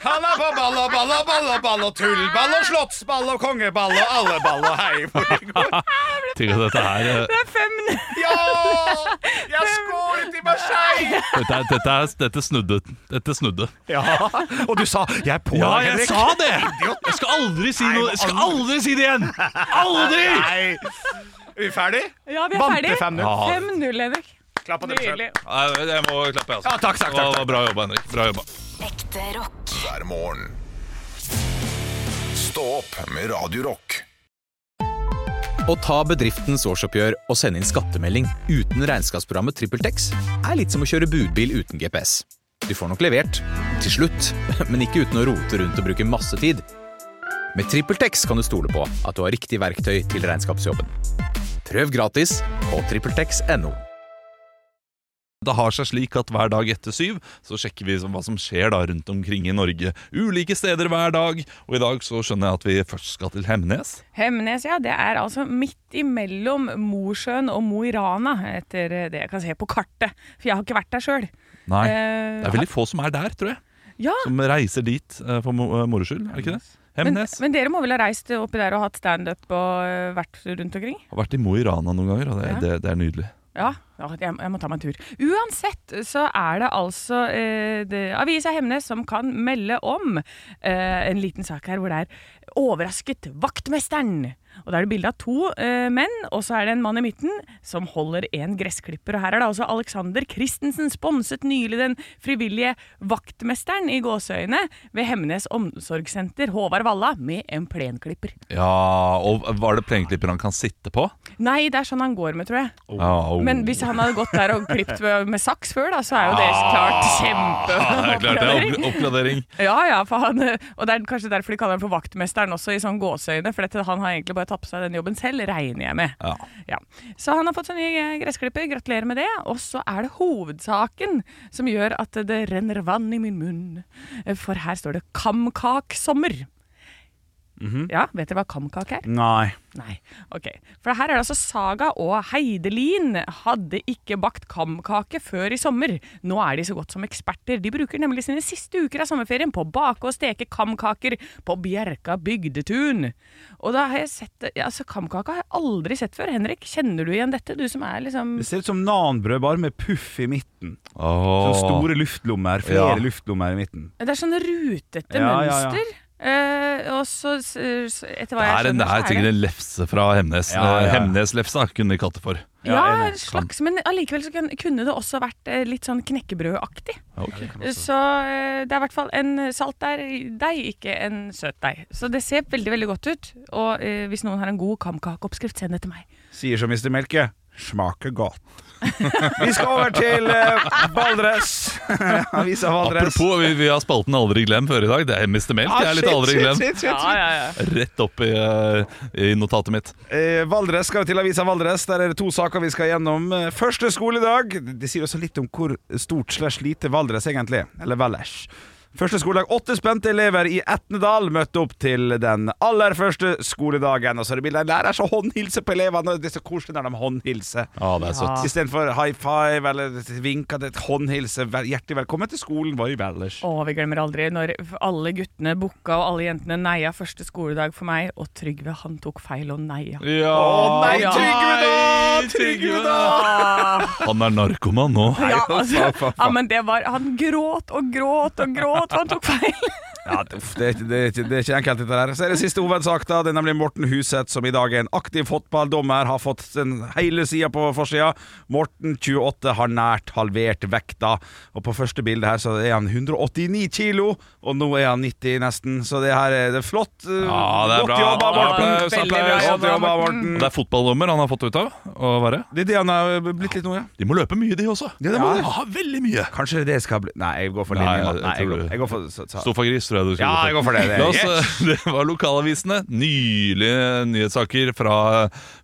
Speaker 3: Han er på ball og ball og ball og ball og tullball og slottsball og kongeball og alle ball og hei hvor det går.
Speaker 4: Tenk at dette her eh,
Speaker 5: Det er fem
Speaker 3: Ja! Jeg skålet i Marseille!
Speaker 4: Dette, er- dette, er- dette snudde. Dette snudde.
Speaker 3: Ja, og du sa 'jeg er på
Speaker 4: Ja,
Speaker 3: deg,
Speaker 4: jeg
Speaker 3: Henrik'.
Speaker 4: sa det! Jeg skal aldri si noe Jeg skal aldri si det igjen! Aldri!
Speaker 3: Nei. Er vi ferdig?
Speaker 5: Ja, vi er
Speaker 3: Vant
Speaker 5: ferdig.
Speaker 3: det 5-0?
Speaker 4: Ja.
Speaker 5: 5-0, Henrik.
Speaker 3: Klapp på dere selv.
Speaker 5: Nydelig.
Speaker 4: Nei, Jeg må klappe, altså.
Speaker 3: Ja, takk, takk, takk,
Speaker 4: Det var Bra jobba, Henrik. Bra jobba.
Speaker 9: Ekte rock.
Speaker 7: hver morgen. Stå opp med Radio Rock.
Speaker 10: Å ta bedriftens årsoppgjør og sende inn skattemelding uten regnskapsprogrammet TrippelTex er litt som å kjøre budbil uten GPS. Du får nok levert, til slutt, men ikke uten å rote rundt og bruke masse tid. Med TrippelTex kan du stole på at du har riktig verktøy til regnskapsjobben. Prøv gratis på TrippelTex.no.
Speaker 4: Det har seg slik at hver dag etter syv så sjekker vi som- hva som skjer da rundt omkring i Norge. Ulike steder hver dag, og i dag så skjønner jeg at vi først skal til Hemnes.
Speaker 5: Hemnes, ja, det er altså midt imellom Mosjøen og Mo i Rana, etter eh, det jeg kan se på kartet. For jeg har ikke vært der sjøl.
Speaker 4: Nei,
Speaker 5: Eh,
Speaker 4: det er veldig få som er der, tror jeg.
Speaker 5: Ja,
Speaker 4: Som reiser dit eh, for mo- eh, moro skyld, er det ikke det?
Speaker 5: men,
Speaker 4: Hemnes.
Speaker 5: men dere må vel ha reist oppi der og hatt standup og eh, vært rundt omkring?
Speaker 4: Har vært i Mo i Rana noen ganger, og det,
Speaker 5: Ja.
Speaker 4: det, det er nydelig.
Speaker 5: Ja, ja, jeg, jeg må ta meg en tur. Uansett så er det altså eh, det, Avisa Hemnes som kan melde om eh, en liten sak her hvor det er 'Overrasket vaktmesteren'. Og Da er det bilde av to eh, menn, og så er det en mann i midten som holder en gressklipper. Og Her er det altså Alexander Christensen sponset nylig den frivillige vaktmesteren i gåseøyne ved Hemnes omsorgssenter, Håvard Valla, med en plenklipper.
Speaker 4: Ja, og var det plenklipper han kan sitte på?
Speaker 5: Nei, det er sånn han går med, tror jeg.
Speaker 4: Ja, oh.
Speaker 5: Men hvis han hadde gått der og klippet med, med saks før, da, så er jo det klart
Speaker 4: Ja, Ah, det er klart det er
Speaker 5: kjempeoppgradering.
Speaker 4: opp- oppgradering.
Speaker 5: Ja, ja, for han, og det er kanskje derfor de kaller han for vaktmesteren også, i sånn gåseøyne. For dette, han har egentlig bare tatt på seg den jobben selv, regner jeg med.
Speaker 4: Ja.
Speaker 5: Ja. Så han har fått seg ny eh, gressklipper, gratulerer med det. Og så er det hovedsaken som gjør at det renner vann i min munn. For her står det 'Kamkaksommer'.
Speaker 4: Mhm.
Speaker 5: Ja, vet dere hva kamkak er?
Speaker 3: Nei.
Speaker 5: Nei, ok. For her er det altså Saga og Heidelin hadde ikke bakt kamkake før i sommer. Nå er de så godt som eksperter. De bruker nemlig sine siste uker av sommerferien på å bake og steke kamkaker på Bjerka bygdetun. Og da har jeg sett det- ja, altså Kamkaka har jeg aldri sett før. Henrik, kjenner du igjen dette? Du som er liksom
Speaker 3: Det ser ut som nanbrød, bare med puff i midten. Sånne
Speaker 4: Åh.
Speaker 3: store luftlommer. Flere
Speaker 4: Ja.
Speaker 3: luftlommer i midten.
Speaker 5: Det er sånn rutete
Speaker 3: Ja, ja, ja.
Speaker 5: mønster. Eh, og så, s- s- etter
Speaker 4: Det er,
Speaker 5: hva jeg
Speaker 4: en,
Speaker 5: skjønner,
Speaker 4: det
Speaker 5: så
Speaker 4: er sikkert en lefse fra Hemnes.
Speaker 3: Ja, ja, ja.
Speaker 4: Hemneslefsa kunne de kalt det for.
Speaker 5: Ja, en slags, men allikevel så kun- kunne det også vært eh, litt sånn knekkebrødaktig. Så eh, det er i hvert fall en saltdeig, ikke en søt deig. Så det ser veldig veldig godt ut. Og eh, hvis noen har en god kamkakeoppskrift, send det til meg.
Speaker 3: Sier som Mr. Melke. Smaker godt. Vi skal over til eh, Valdres. Avisa Valdres.
Speaker 4: Apropos, vi, vi har spalten Aldri glem før i dag. Det er Mr. Melk.
Speaker 3: Ah,
Speaker 4: det er litt
Speaker 3: shit,
Speaker 4: aldri
Speaker 3: shit,
Speaker 4: glem.
Speaker 3: shit, shit, shit.
Speaker 4: Rett opp i, eh, i notatet mitt.
Speaker 3: Eh, Valdres skal til avisa Valdres. Der er det to saker vi skal gjennom. Eh, Første skoledag. Det sier også litt om hvor stort slash lite Valdres egentlig er. Eller Valdres. Første skoledag. Åtte spente elever i Etnedal møtte opp til den aller første skoledagen. Og så er det bilde av en lærer som håndhilser på elevene. og Det er så koselig når de håndhilser.
Speaker 4: Ja, det er søtt.
Speaker 3: Istedenfor high five eller vinka det håndhilse. Vel- Hjertelig velkommen til skolen vår i Valdres.
Speaker 5: Å, vi glemmer aldri når alle guttene booka og alle jentene neia første skoledag for meg, og Trygve han tok feil og neia.
Speaker 4: Ja.
Speaker 3: Å, nei,
Speaker 5: Ja.
Speaker 3: Trygve da! Trygve da!
Speaker 4: Han er narkoman nå.
Speaker 5: Ja,
Speaker 3: Nei,
Speaker 5: altså,
Speaker 3: faen, faen, faen.
Speaker 5: ja, men det var Han gråt og gråt og gråt, for han tok feil.
Speaker 3: Ja, det, uff, det, er ikke- det, er ikke- det er ikke enkelt dette her Så er det siste hovedsak da Det er nemlig Morten Huseth som i dag er en aktiv fotballdommer Har fått den hele siden på forsida Morten 28 har nært halvert vekta Og på første bilde her så er han 189 kilo Og nå er han 90 nesten Så det her er, det er flott eh,
Speaker 4: Ja, det er
Speaker 3: Godt
Speaker 4: bra.
Speaker 3: jobba Morten
Speaker 4: Applaus,
Speaker 5: Veldig bra
Speaker 4: applaus.
Speaker 3: Godt
Speaker 5: jobba,
Speaker 3: jobba
Speaker 5: Morten.
Speaker 3: Morten
Speaker 4: Og det er fotballdommer han har fått ut av å være.
Speaker 3: Det er det han har blitt litt nå, ja
Speaker 4: De må løpe mye, de også.
Speaker 3: Ja, det må de.
Speaker 4: Ja, veldig mye.
Speaker 3: Kanskje det skal bli Nei, jeg går for
Speaker 4: Nei,
Speaker 3: linje
Speaker 4: jeg- jeg
Speaker 3: Nei, jeg
Speaker 4: tror
Speaker 3: går,
Speaker 4: det.
Speaker 3: jeg går for så, så.
Speaker 4: Sofagris, tror jeg du skal
Speaker 3: Ja, jeg går for det, det er
Speaker 4: La oss, det var lokalavisene. Nylige nyhetssaker fra,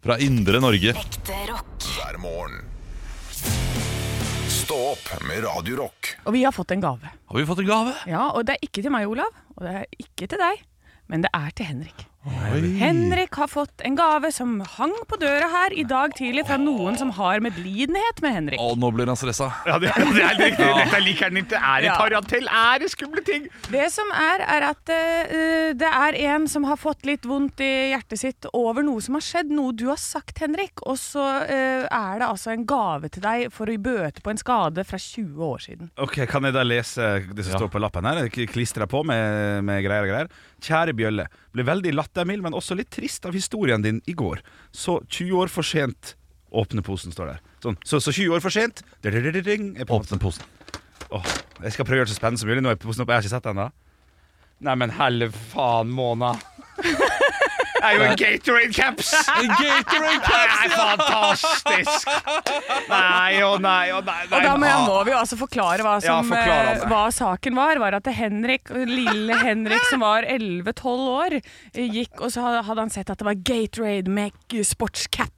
Speaker 4: fra indre Norge.
Speaker 2: Ekte rock.
Speaker 7: hver morgen. Stå opp med Radio Rock.
Speaker 5: Og vi har fått en gave.
Speaker 4: Har vi fått en gave?
Speaker 5: Ja, og det er ikke til meg, Olav, og det er ikke til deg, men det er til Henrik. Henrik har fått en gave som hang på døra her i dag tidlig fra noen som har medlidenhet med Henrik.
Speaker 4: Å, nå blir han stressa.
Speaker 3: Ja, det, det er helt riktig Dette liker han ikke Er i tarantell Er i skumle ting
Speaker 5: Det som er, er at eh, det er en som har fått litt vondt i hjertet sitt over noe som har skjedd, noe du har sagt, Henrik, og så eh, er det altså en gave til deg for å bøte på en skade fra 20 år siden.
Speaker 3: Ok, Kan jeg da lese det som står på lappen her? Klistra på med, med greier og greier. Kjære Bjølle. Ble veldig lattermild, men også litt trist av historien din i går. Så 20 år for sent. Åpne posen, står der. Sånn. Så, så 20 år for sent. Dring, er på en måte-
Speaker 4: Åpne posen.
Speaker 3: Åh, jeg skal prøve å gjøre det så spennende som mulig. Nå er posen oppe. Jeg har ikke sett den ennå. Neimen, helle faen måna. Det er jo en Gatorade caps!
Speaker 4: Gatorade
Speaker 3: Det er fantastisk! Nei å nei å nei. nei. ah.
Speaker 5: Og da må, jeg, må vi jo altså forklare hva, som,
Speaker 3: Ja, forklar han
Speaker 5: eh,
Speaker 3: det.
Speaker 5: hva saken var. Var at det Henrik, lille Henrik som var 11-12 år, eh, gikk og så hadde han sett at det var Gatorade med sportscap.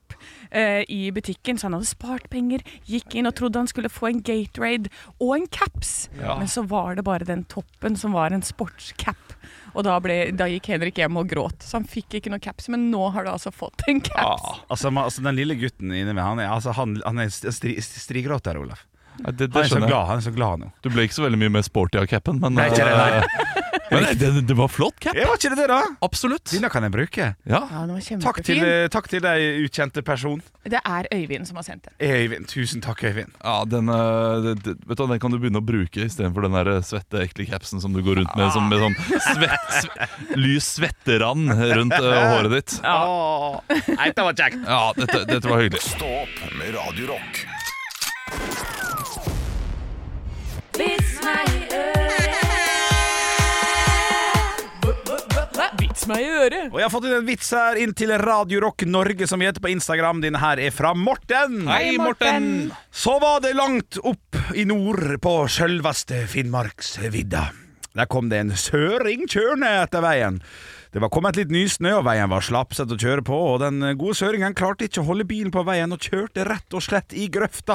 Speaker 5: eh, i butikken, så han hadde spart penger. Gikk inn og trodde han skulle få en Gatorade og en caps, men så var det bare den toppen som var en sportscap. Og da, ble, da gikk Henrik hjem og gråt, så han fikk ikke noe caps, men nå har du altså fått en caps.
Speaker 11: Ah.
Speaker 3: Altså, man, altså, den lille gutten inni meg, han er, altså, han, han er stri, stri, strigråter, Olaf.
Speaker 4: Nei, det,
Speaker 3: Han er
Speaker 4: det
Speaker 3: så
Speaker 4: skjønner jeg.
Speaker 3: glad, han er så glad nå.
Speaker 4: Du ble ikke så veldig mye mer sporty av capen, men,
Speaker 3: Nei, ikke det, nei.
Speaker 4: eh, men nei, det, det var flott cap.
Speaker 3: Ja, var ikke det det, da?
Speaker 4: Absolutt.
Speaker 3: Denne kan jeg bruke.
Speaker 4: Ja.
Speaker 5: Ja, den var
Speaker 3: Takk til, eh,
Speaker 5: kjempefin.
Speaker 3: takk til deg, ukjente person.
Speaker 5: Det er Øyvind som har sendt den.
Speaker 3: Øyvind. Tusen takk, Øyvind.
Speaker 4: Ja, den, eh, det- det- vet du, hva, den kan du begynne å bruke istedenfor den der eh, svette, ekle capsen som du går rundt med som med sånn svett, sve- lys svetterand rundt eh, håret ditt.
Speaker 3: Åh, Nei, det var kjekt.
Speaker 4: Ja, dette, dette var hyggelig.
Speaker 7: Stå opp med Radio Rock.
Speaker 5: Vits meg i øret!
Speaker 3: Og jeg har fått inn en vits her inn til Radio Rock Norge, som vi heter på Instagram. Denne her er fra Morten.
Speaker 4: Hei, Morten!
Speaker 3: Så var det langt opp i nord på sjølveste Finnmarksvidda. Der kom det en søring kjørende etter veien. Det var kommet litt nysnø, og veien var slapset å kjøre på, og den gode søringen klarte ikke å holde bilen på veien og kjørte rett og slett i grøfta.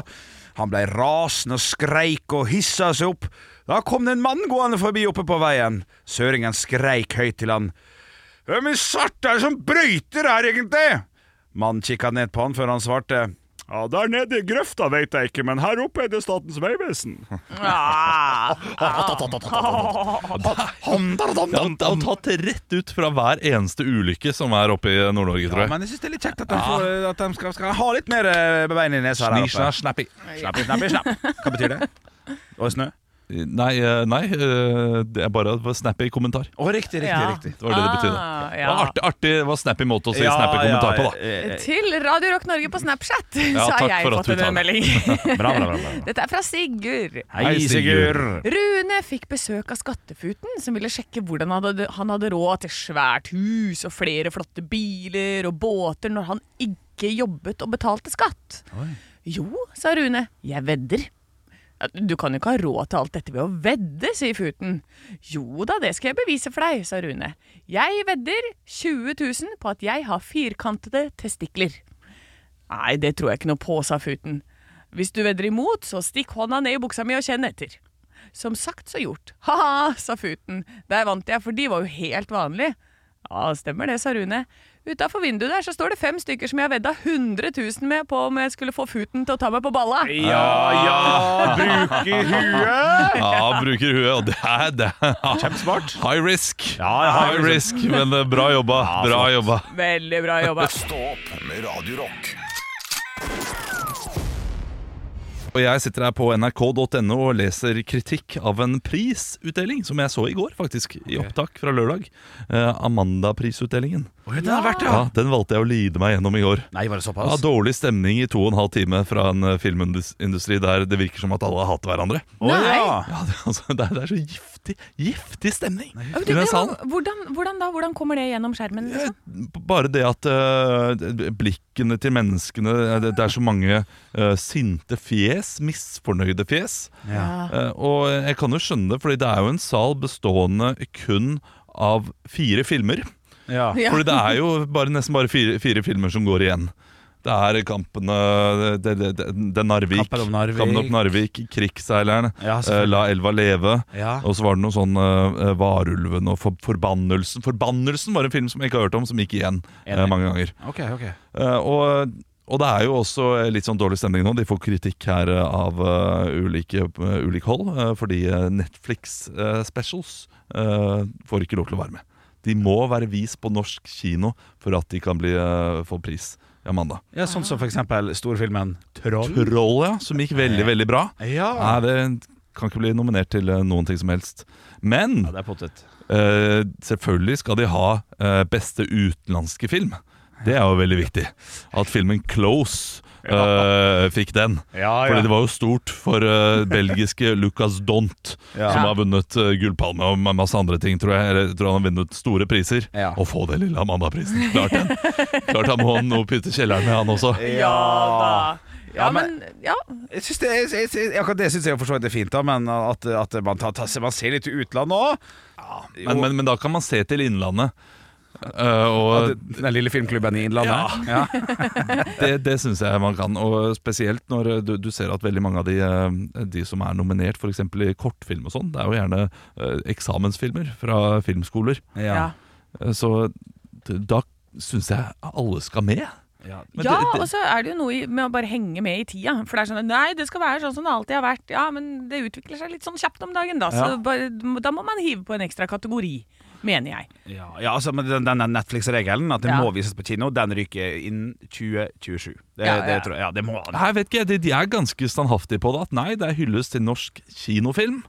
Speaker 3: Han blei rasende og skreik og hissa seg opp. Da kom det en mann gående forbi oppe på veien. Søringen skreik høyt til han. Hvem i svarte er det som brøyter her, egentlig? Mannen kikka ned på han før han svarte. Ja, Der nede i grøfta veit jeg ikke, men her oppe er det Statens vegvesen.
Speaker 5: Ah.
Speaker 4: Ja, han har tatt det rett ut fra hver eneste ulykke som er oppe i Nord-Norge, tror jeg.
Speaker 3: Men jeg syns det er litt kjekt at de, får, at de skal, skal ha litt mer eh, bein i nesa her.
Speaker 4: Sni,
Speaker 3: oppe.
Speaker 4: sna, snappi.
Speaker 3: Snapp, snapp, snapp. Hva betyr det? Og snø?
Speaker 4: Nei, eh, nei eh, det er bare å snappe i kommentar.
Speaker 3: Å, riktig, riktig.
Speaker 5: Ja.
Speaker 3: riktig.
Speaker 4: Det var det det betydde.
Speaker 5: Ah,
Speaker 4: Det
Speaker 5: ja.
Speaker 4: var artig, artig det var snappy måte å si
Speaker 3: Ja,
Speaker 4: snappy
Speaker 3: ja,
Speaker 4: kommentar på, da.
Speaker 3: eh, eh,
Speaker 5: Til Radio Rock Norge på Snapchat så
Speaker 4: takk
Speaker 5: har jeg
Speaker 4: for at
Speaker 5: fått
Speaker 4: du
Speaker 5: en
Speaker 4: tar den.
Speaker 5: melding.
Speaker 3: Bra, bra, bra, bra.
Speaker 5: Dette er fra Sigurd.
Speaker 3: Hei, Sigurd.
Speaker 5: Rune fikk besøk av skattefuten, som ville sjekke hvordan han hadde, han hadde råd til svært hus og flere flotte biler og båter når han ikke jobbet og betalte skatt. Jo, sa Rune. Jeg vedder. «Ja, Du kan jo ikke ha råd til alt dette ved å vedde, sier futen. Jo da, det skal jeg bevise for deg, sa Rune. Jeg vedder 20 000 på at jeg har firkantede testikler. Nei, det tror jeg ikke noe på, sa futen. Hvis du vedder imot, så stikk hånda ned i buksa mi og kjenn etter. Som sagt så gjort. Ha-ha, sa futen. Der vant jeg, for de var jo helt vanlige. Ja, stemmer det, sa Rune. Utafor vinduet der så står det fem stykker som jeg vedda 100 000 med på om jeg skulle få futen til å ta meg på balla.
Speaker 3: Ja, ja, bruke huet.
Speaker 4: Ja, bruker huet, og det er det.
Speaker 3: Kjempesmart.
Speaker 4: High risk.
Speaker 3: Ja, ja, high
Speaker 4: high risk, men eh, bra jobba. bra jobba.
Speaker 5: Veldig bra jobba.
Speaker 7: Stå opp med Radio Rock.
Speaker 4: Og jeg sitter her på nrk.no og leser kritikk av en prisutdeling som jeg så i går, faktisk. I opptak fra lørdag. Eh, Amanda-prisutdelingen.
Speaker 3: Den har vært,
Speaker 4: Ja, den valgte jeg å lide meg gjennom i går.
Speaker 3: Nei, var det
Speaker 4: Ja,
Speaker 3: såpass?
Speaker 4: dårlig stemning i to og en halv time fra en eh, filmindustri der det virker som at alle hater hverandre.
Speaker 3: Å, ja.
Speaker 4: Ja, det, altså, det, er, det er så giftig, giftig stemning
Speaker 5: Ja,
Speaker 4: i
Speaker 5: men du,
Speaker 4: den
Speaker 5: det var-
Speaker 4: salen.
Speaker 5: Hvordan, hvordan da? Hvordan kommer det gjennom skjermen? Liksom?
Speaker 4: Bare det at eh, blikkene til menneskene Det, det er så mange eh, sinte fjes, misfornøyde fjes. Eh, og jeg kan jo skjønne det, fordi det er jo en sal bestående kun av fire filmer.
Speaker 3: Ja.
Speaker 5: Ja.
Speaker 4: Fordi det er jo bare, nesten bare fire, fire filmer som går igjen. Det er kampene Det, det, det, det er Narvik.
Speaker 3: Kampen om Narvik.
Speaker 4: Kampen om Narvik, Krigsseileren,
Speaker 3: Ja,
Speaker 4: eh,
Speaker 3: selvfølgelig.
Speaker 4: La elva leve.
Speaker 3: Ja.
Speaker 4: Og så var det noe sånn eh, Varulven og for, Forbannelsen. Forbannelsen var en film som jeg ikke har hørt om, som gikk igjen eh,
Speaker 3: Enig.
Speaker 4: mange ganger.
Speaker 3: Ok, ok.
Speaker 4: Eh, og, og det er jo også litt sånn dårlig stemning nå. De får kritikk her eh, av eh, ulike, eh, ulike hold, eh, fordi eh, Netflix eh, specials eh, får ikke lov til å være med. De må være vist på norsk kino for at de kan bli, eh, få pris. i Amanda.
Speaker 3: Ja, sånn som for eksempel storfilmen Troll.
Speaker 4: Troll, ja, som gikk veldig, veldig bra. Nei,
Speaker 3: Ja.
Speaker 4: det kan ikke bli nominert til eh, noen ting som helst. Men
Speaker 3: det er pottet.
Speaker 4: eh, selvfølgelig skal de ha eh, beste utenlandske film. Det er jo veldig viktig. At filmen 'Close' eh, fikk den.
Speaker 3: Ja,
Speaker 4: Fordi det var jo stort for eh, belgiske Lucas Dont,
Speaker 3: Ja.
Speaker 4: som har vunnet eh, gullpalme og ma- masse andre ting, tror jeg. Eller, jeg tror han har vunnet store priser.
Speaker 3: Ja.
Speaker 4: Og få den lille Amanda-prisen. Klart den. Klart han må nå pytte kjelleren med, han også.
Speaker 3: Eh,
Speaker 5: Ja da.
Speaker 3: Ja,
Speaker 5: Ja,
Speaker 3: men-
Speaker 5: men ja.
Speaker 3: Jeg synes det, jeg, jeg, jeg, akkurat det syns jeg for så vidt er fint, da, men at, at man, tar, tar, man ser litt til utlandet òg.
Speaker 4: Men, men, men da kan man se til Innlandet. Eh, og
Speaker 3: Den lille filmklubben i Innlandet? Ja.
Speaker 4: det, det syns jeg man kan. Og spesielt når eh, du, du ser at veldig mange av de, eh, de som er nominert f.eks. i kortfilm og sånn, det er jo gjerne eh, eksamensfilmer fra filmskoler.
Speaker 5: Ja,
Speaker 4: Eh, Så d- da syns jeg alle skal med. Men
Speaker 5: ja
Speaker 4: det- det-
Speaker 5: og så er det jo noe i- med å bare henge med i tida. For det er sånn at, Nei, det skal være sånn som det alltid har vært. Ja, men det utvikler seg litt sånn kjapt om dagen, da. Så bare, da må man hive på en ekstra kategori, mener jeg.
Speaker 3: Ja, ja altså, men den, den Netflix-regelen, at det
Speaker 5: Ja.
Speaker 3: må vises på kino, den ryker innen 2027. Det,
Speaker 5: Ja, ja.
Speaker 3: det tror jeg. Ja, det må han.
Speaker 4: Her vet ikke jeg, de, de er ganske standhaftige på det. At nei, det er hyllest til norsk kinofilm.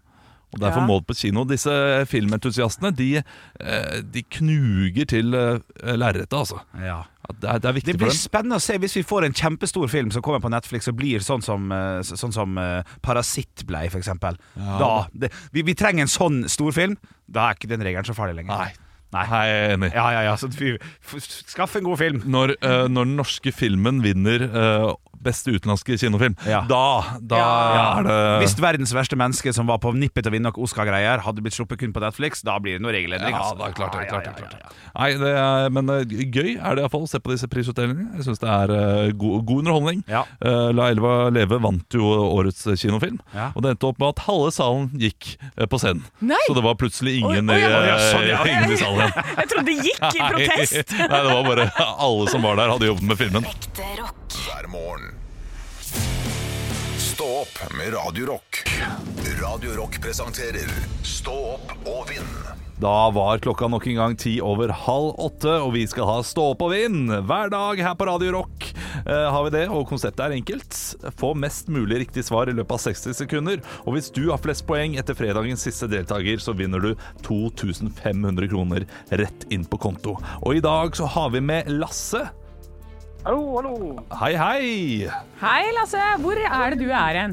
Speaker 4: Og derfor
Speaker 5: Ja.
Speaker 4: må det på kino. Disse filmentusiastene de, eh, de knuger til eh, lerretet, altså.
Speaker 3: Ja.
Speaker 4: At Det er, det er
Speaker 3: Det
Speaker 4: viktig
Speaker 3: blir
Speaker 4: for dem.
Speaker 3: spennende å se hvis vi får en kjempestor film som kommer på Netflix og blir sånn som, eh, s- sånn som eh, Parasitt ble, for eksempel. Da, det, vi, vi trenger en sånn stor film. Da er ikke den regelen så farlig lenger.
Speaker 4: Nei. Her er jeg enig.
Speaker 3: Ja, ja, ja. Så vi, f- skaff en god film.
Speaker 4: Når, eh, når den norske filmen vinner eh, beste utenlandske kinofilm,
Speaker 3: Ja.
Speaker 4: da, da
Speaker 5: Ja.
Speaker 4: er det
Speaker 3: Hvis verdens verste menneske som var på nippet til å vinne noen Oscar-greier, hadde blitt sluppet kun på Netflix, da blir det noe regelendring.
Speaker 4: Ja,
Speaker 3: altså.
Speaker 4: da, klart det.
Speaker 3: Ja,
Speaker 4: Klart
Speaker 3: ja, ja,
Speaker 4: det, klart
Speaker 3: ja, ja.
Speaker 4: det. Nei, det er, men eh, gøy er det iallfall å se på disse prisutdelingene. Jeg syns det er eh, god, god underholdning.
Speaker 3: Ja.
Speaker 4: Eh, La elva leve vant jo årets kinofilm,
Speaker 3: Ja.
Speaker 4: og det endte opp med at halve salen gikk eh, på scenen.
Speaker 5: Nei!
Speaker 4: Så det var plutselig ingen,
Speaker 5: Oi,
Speaker 4: i,
Speaker 5: oi, ja,
Speaker 3: ja, sånn,
Speaker 4: eh,
Speaker 3: ja.
Speaker 4: ingen i salen igjen.
Speaker 5: Jeg trodde det gikk i protest!
Speaker 4: Nei, nei, det var bare alle som var der, hadde jobbet med filmen.
Speaker 2: Ekte rock.
Speaker 7: hver morgen. Stå opp med Radio Rock. Radio Rock presenterer Stå opp og vinn.
Speaker 4: Da var klokka nok en gang ti over halv åtte, og vi skal ha Stå opp og vinn hver dag her på Radio Rock. Eh, har vi det, og konseptet er enkelt. Få mest mulig riktig svar i løpet av 60 sekunder. Og hvis du har flest poeng etter fredagens siste deltaker, så vinner du 2500 kroner rett inn på konto. Og i dag så har vi med Lasse.
Speaker 12: Hallo, hallo.
Speaker 4: Hei, hei!
Speaker 5: Hei, Lasse. Hvor er det du er hen?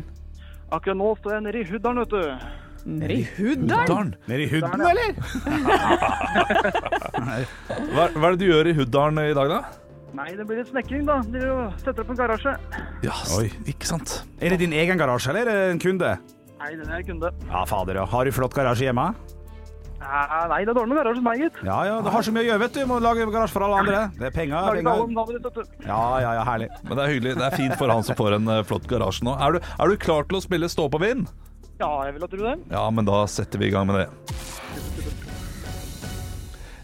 Speaker 12: Akkurat nå står jeg nede i Huddalen, vet du.
Speaker 5: Nede i Huddalen?
Speaker 4: Huddalen.
Speaker 3: Nede i huden, eller?
Speaker 4: Hva, hva er det du gjør i Huddalen i dag, da?
Speaker 12: Nei, det blir litt snekring, da. Dere jo setter opp en garasje.
Speaker 4: Ja, ikke sant?
Speaker 3: Er det din egen garasje, eller er det en kunde?
Speaker 12: Nei, den er kunde.
Speaker 3: Ja, fader, ja. Har du flott garasje hjemme?
Speaker 12: Ja, Nei, det er dårlig med garasje hos meg, gitt.
Speaker 3: Ja, ja, du har så mye å gjøre, vet du. Må lage garasje for alle andre. Det er penger.
Speaker 12: Har ikke alle om
Speaker 3: penger.
Speaker 12: navnet ditt, vet du.
Speaker 3: Ja, ja, ja, herlig.
Speaker 4: Men det er hyggelig, det er fint for han som får en eh, flott garasje nå. Er du, er du klar til å spille stå på vind?
Speaker 12: Ja, jeg vil ha tro det.
Speaker 4: Ja, men da setter vi i gang med det.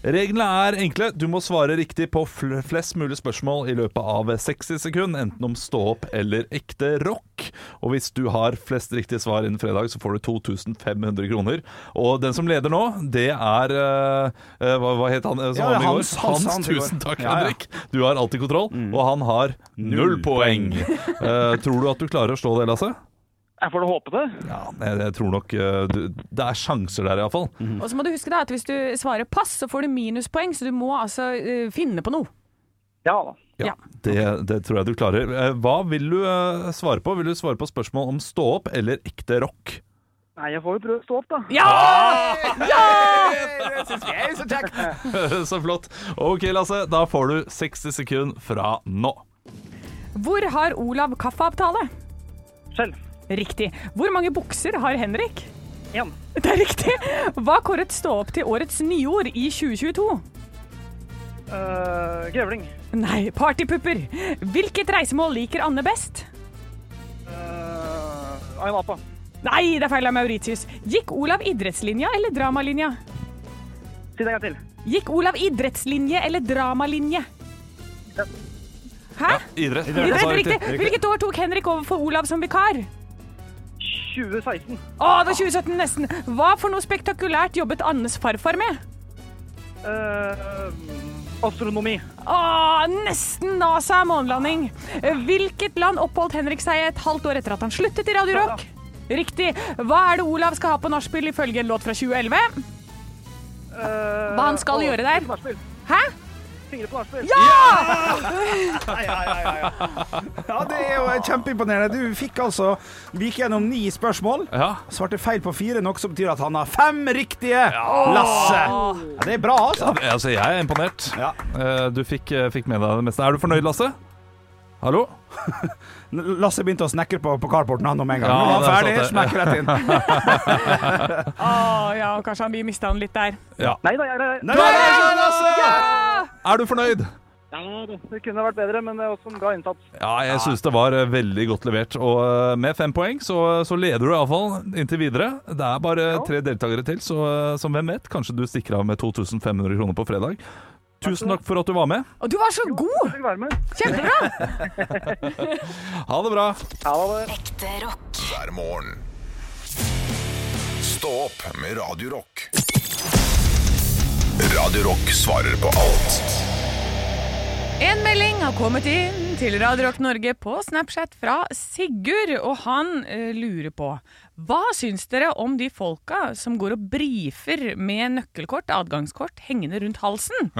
Speaker 4: Reglene er enkle. Du må svare riktig på fl flest mulig spørsmål i løpet av 60 sekunder, enten om stå opp eller ekte rock. Og hvis du har flest riktige svar innen fredag, så får du 2500 kroner. Og den som leder nå, det er eh, eh, hva, hva het han eh, som
Speaker 3: Ja,
Speaker 4: var med i går?
Speaker 3: Hans, Hans, Hans i går.
Speaker 4: tusen takk,
Speaker 3: Ja, Mm. ja.
Speaker 4: Henrik. Du har alltid kontroll, og han har null poeng. Eh, tror du at du klarer å slå det, Lasse?
Speaker 12: Jeg får da håpe det.
Speaker 4: Ja, jeg, jeg tror nok eh, du, Det er sjanser der, iallfall.
Speaker 5: Og så må du huske da, at hvis du svarer pass, så får du minuspoeng, så du må altså eh, finne på noe.
Speaker 12: Ja da.
Speaker 5: Ja.
Speaker 4: Det, det tror jeg du klarer. Eh, Hva vil du eh, svare på? Vil du svare på spørsmål om stå opp eller ekte rock?
Speaker 12: Nei, jeg får jo prøve å stå opp, da.
Speaker 5: Ja!
Speaker 4: Ah! Så flott. OK, Lasse. Da får du 60 sekunder fra nå.
Speaker 5: Hvor har Olav kaffeavtale?
Speaker 12: Skjell.
Speaker 5: Riktig. Hvor mange bukser har Henrik?
Speaker 12: Én.
Speaker 5: Det er riktig. Hva kåret stå opp til årets nyord i 2022?
Speaker 12: Eh, grevling.
Speaker 5: Nei, partypupper. Hvilket reisemål liker Anne best?
Speaker 12: Eh, Ayanapa.
Speaker 5: Nei, det er feil av Mauritius. Gikk Olav idrettslinja eller dramalinja?
Speaker 12: Si det en gang til.
Speaker 5: Gikk Olav idrettslinje eller dramalinje? Hæ?
Speaker 4: Idrett. Altså,
Speaker 5: Idrett, riktig. Hvilket år tok Henrik over for Olav som vikar?
Speaker 12: 2016.
Speaker 5: Å, det var 2017 nesten. Hva for noe spektakulært jobbet Annes farfar med?
Speaker 12: Eh, astronomi.
Speaker 5: Å, Ah, nesten NASA månelanding. Hvilket land oppholdt Henrik seg i et halvt år etter at han sluttet i Radio Rock? Riktig. Hva er det Olav skal ha på nachspiel ifølge en låt fra 2011?
Speaker 12: Eh,
Speaker 5: Hva han skal
Speaker 12: å,
Speaker 5: gjøre der?
Speaker 12: fingre på nachspiel.
Speaker 5: Hæ?
Speaker 12: Fingre på nachspiel.
Speaker 5: Ja!
Speaker 3: Ja, det er jo kjempeimponerende. Du fikk altså Vi gikk gjennom ni spørsmål.
Speaker 4: Ja.
Speaker 3: Svarte feil på fire, noe som betyr at han har fem riktige. Lasse! Ja, det er bra, altså.
Speaker 4: Altså, jeg er imponert.
Speaker 3: Ja.
Speaker 4: Eh, Du fikk, eh, fikk med deg det meste. Er du fornøyd, Lasse? Hallo?
Speaker 3: Lasse begynte å snekre på, på carporten han om en gang.
Speaker 4: Ja,
Speaker 3: Nå er han
Speaker 4: det
Speaker 3: ferdig,
Speaker 4: er sant
Speaker 3: smekk rett inn.
Speaker 5: Å ja, kanskje han blir mista han litt der.
Speaker 12: Nei da, jeg er
Speaker 3: Nei, nei, nei, Lasse!
Speaker 5: Ja!
Speaker 4: Er du fornøyd?
Speaker 12: Ja, det det kunne vært bedre, men det er også en bra innsats.
Speaker 4: Ja, jeg syns det var eh, veldig godt levert. Og eh, med fem poeng så, så leder du iallfall inntil videre. Det er bare tre deltakere til, så, eh, så hvem vet? Kanskje du stikker av med 2500 kroner på fredag. Tusen takk for at du var med.
Speaker 5: Og du var så god!
Speaker 12: Vil du være med?
Speaker 5: Kjempebra!
Speaker 4: Ha det bra.
Speaker 12: Ja, det var det.
Speaker 2: Ekte rock.
Speaker 7: hver morgen. Stå opp med Radio Rock. Radio Rock svarer på alt.
Speaker 5: En melding har kommet inn til Radio Rock Norge på Snapchat fra Sigurd, og han eh, lurer på Hva syns dere om de folka som går og brifer med nøkkelkort, adgangskort, hengende rundt halsen?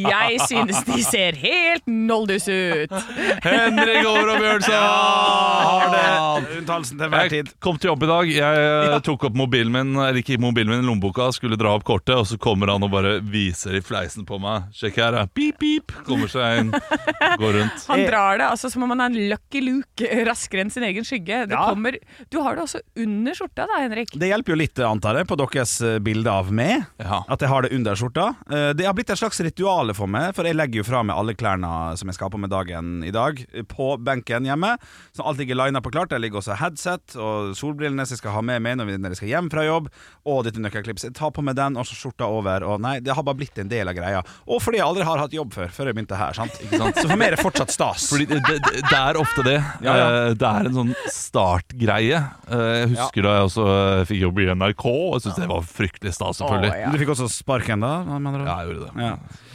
Speaker 5: Jeg synes de ser helt noldus ut!
Speaker 4: Henrik Over og Bjørnson!
Speaker 3: Rundt halsen til hver
Speaker 4: Jeg
Speaker 3: tid.
Speaker 4: kom til jobb i dag. Jeg eh, tok opp mobilen min Eller ikke mobilen min, lommeboka, skulle dra opp kortet, og så kommer han og bare viser i fleisen på meg. Sjekk her, ja. pip, pip. Kommer seg inn, går rundt.
Speaker 5: Han drar det altså som om han er en lucky luke raskere enn sin egen skygge. Det
Speaker 3: Ja.
Speaker 5: kommer, du har det også under skjorta da, Henrik.
Speaker 3: Det hjelper jo litt, antar jeg, på deres eh, bilde av meg.
Speaker 4: Ja.
Speaker 3: At jeg har det under skjorta. Eh, Det har blitt et slags rituale for meg, for jeg legger jo fra meg alle klærne som jeg skal ha på meg dagen i dag, eh, på benken hjemme. Så alt ligger lina på klart. Der ligger også headset og solbrillene som jeg skal ha med meg når vi- når jeg skal hjem fra jobb, og dette nøkkelklipset. Jeg tar på meg den, og så skjorta over, og nei, det har bare blitt en del av greia. Og fordi jeg aldri har hatt jobb før, før jeg begynte her, sant. Så for meg er det fortsatt stas.
Speaker 4: Fordi det, det, det er ofte det.
Speaker 3: Ja, ja.
Speaker 4: Eh, Det er en sånn startgreie. Eh, Jeg husker da jeg også eh, fikk jobb i NRK, og jeg syntes det var fryktelig stas, selvfølgelig.
Speaker 3: Du fikk også sparken da, mener du?
Speaker 4: Ja, jeg gjorde det.
Speaker 3: Ja.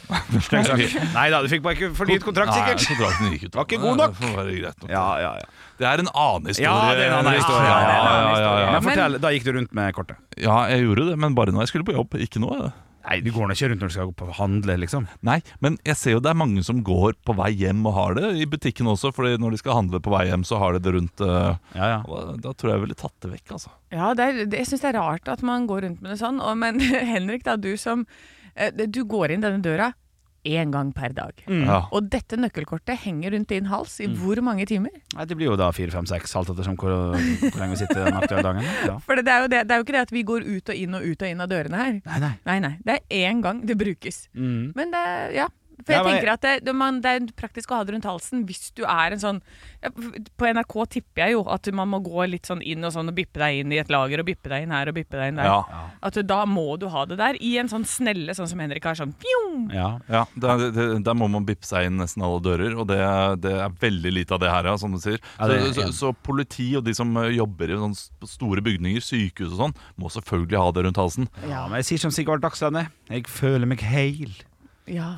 Speaker 3: Nei da, du fikk bare ikke fornyet kontrakt,
Speaker 4: Nei,
Speaker 3: sikkert.
Speaker 4: kontrakten gikk ut.
Speaker 3: Var ikke god nok.
Speaker 4: Det, får være greit nok.
Speaker 3: Ja, ja, ja.
Speaker 4: det er en annen historie.
Speaker 3: Ja, det er en annen historie.
Speaker 4: Ja,
Speaker 3: Ja, det er en
Speaker 4: ja,
Speaker 3: annen
Speaker 4: ja, ja.
Speaker 3: Men fortell, da gikk du rundt med kortet.
Speaker 4: ja, jeg gjorde det, men bare når jeg skulle på jobb. Ikke nå. eh.
Speaker 3: Nei, du går nå ikke rundt når du skal gå på handle, liksom.
Speaker 4: Nei, men jeg ser jo det er mange som går på vei hjem og har det i butikken også. Fordi når de skal handle på vei hjem, så har de det rundt eh,
Speaker 3: Ja, ja.
Speaker 4: da, da tror jeg jeg ville tatt det vekk, altså.
Speaker 5: Ja, det er, det- jeg syns det er rart at man går rundt med det sånn. Og, men Henrik, da, du som eh, Du går inn denne døra én gang per dag.
Speaker 3: Mm.
Speaker 4: Ja.
Speaker 5: Og dette nøkkelkortet henger rundt din hals i hvor mange timer?
Speaker 3: Nei, det blir jo da fire, fem, seks, halvt ettersom hvor, hvor lenge vi sitter den aktuelle dagen. Ja.
Speaker 5: For det, det, er jo det, det er jo ikke det at vi går ut og inn og ut og inn av dørene her.
Speaker 3: Nei, nei.
Speaker 5: Nei, nei. Det er én gang det brukes. Men det er- Ja. For jeg
Speaker 3: Ja, men-
Speaker 5: tenker at det, det, man, det er praktisk å ha det rundt halsen hvis du er en sånn ja, På NRK tipper jeg jo at man må gå litt sånn inn og sånn og bippe deg inn i et lager og bippe deg inn her og bippe deg inn der.
Speaker 4: Ja.
Speaker 5: At du, da må du ha det der i en sånn snelle, sånn som Henrik har sånn fjong.
Speaker 3: Ja.
Speaker 4: Ja, der, der, der må man bippe seg inn nesten alle dører, og det, det er veldig lite av det her, ja, som du sier.
Speaker 3: Ja,
Speaker 4: så,
Speaker 3: det er
Speaker 4: så,
Speaker 3: enig.
Speaker 4: så politi og de som eh, jobber i sånne s- store bygninger, sykehus og sånn, må selvfølgelig ha det rundt halsen.
Speaker 3: ja, men jeg sier som Sigvard Dagslandet. Jeg føler meg heil.
Speaker 5: Ja.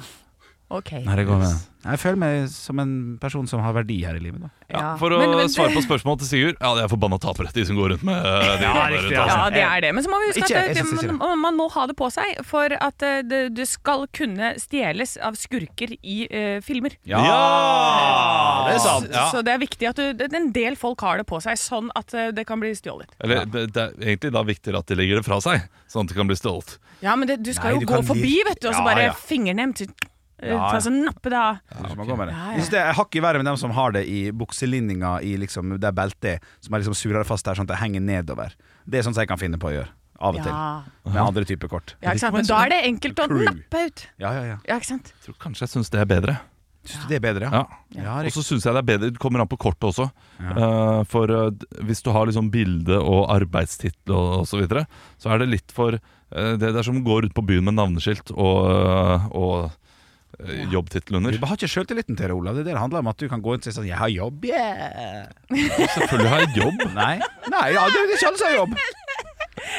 Speaker 5: OK.
Speaker 3: jeg, jeg føler meg som en person som har verdi her i livet, da.
Speaker 4: Ja,
Speaker 5: Ja.
Speaker 4: for å
Speaker 5: Men- men-
Speaker 4: svare på spørsmålet til Sigurd Ja, det er forbanna tapere, de som går rundt med eh, de
Speaker 3: Ja,
Speaker 4: rundt
Speaker 3: riktig,
Speaker 4: halsen.
Speaker 5: Ja, det er det. Men så må vi huske
Speaker 3: Ikke, jeg
Speaker 5: at det,
Speaker 3: synes ikke
Speaker 5: man, man må ha det på seg for at eh, det, det skal kunne stjeles av skurker i eh, filmer.
Speaker 3: Ja! Det er sant.
Speaker 4: Ja.
Speaker 5: Så det er viktig at du, det- en del folk har det på seg, sånn at eh, det kan bli stjålet.
Speaker 4: Eller det, det er egentlig da viktigere at de legger det fra seg, sånn at det kan bli stolt.
Speaker 5: Ja, men det, du skal
Speaker 3: Nei,
Speaker 5: jo
Speaker 3: du
Speaker 5: gå
Speaker 3: kan
Speaker 5: forbi,
Speaker 3: vir-
Speaker 5: vet du, og så
Speaker 3: Ja,
Speaker 5: bare
Speaker 3: ja.
Speaker 5: fingernevnt
Speaker 3: Ja, ja.
Speaker 5: ta så nappe det av.
Speaker 3: Ja, okay. med det.
Speaker 5: Ja, ja.
Speaker 3: Jeg synes det er hakket verre med dem som har det i bukselinninga i liksom det beltet som er liksom surere fast der, sånn at det henger nedover. Det er sånn som jeg kan finne på å gjøre. Av og
Speaker 5: Ja.
Speaker 3: til. Med andre typer kort.
Speaker 5: ja, ikke sant. Men da er det enkelt å
Speaker 3: Crew.
Speaker 5: nappe ut.
Speaker 3: Ja, ja, ja.
Speaker 5: Ja, ikke sant.
Speaker 4: Jeg tror kanskje jeg syns det er bedre.
Speaker 3: Syns du det er bedre,
Speaker 4: Ja.
Speaker 3: Ja,
Speaker 4: Og
Speaker 3: riktig.
Speaker 4: så syns jeg det er bedre. Det kommer an på kortet også. Eh, for eh, d- hvis du har liksom bilde og arbeidstittel og, og så videre, så er det litt for eh, Det der som å gå rundt på byen med navneskilt og, eh, og eh, jobbtittel under.
Speaker 3: Du har ikke sjøltilliten til det, Olav. Det der handler om at du kan gå inn og si sånn 'Jeg har jobb, yeah'.
Speaker 4: Selvfølgelig har jeg jobb.
Speaker 3: Nei, Nei ja, det er ikke alle som har jobb.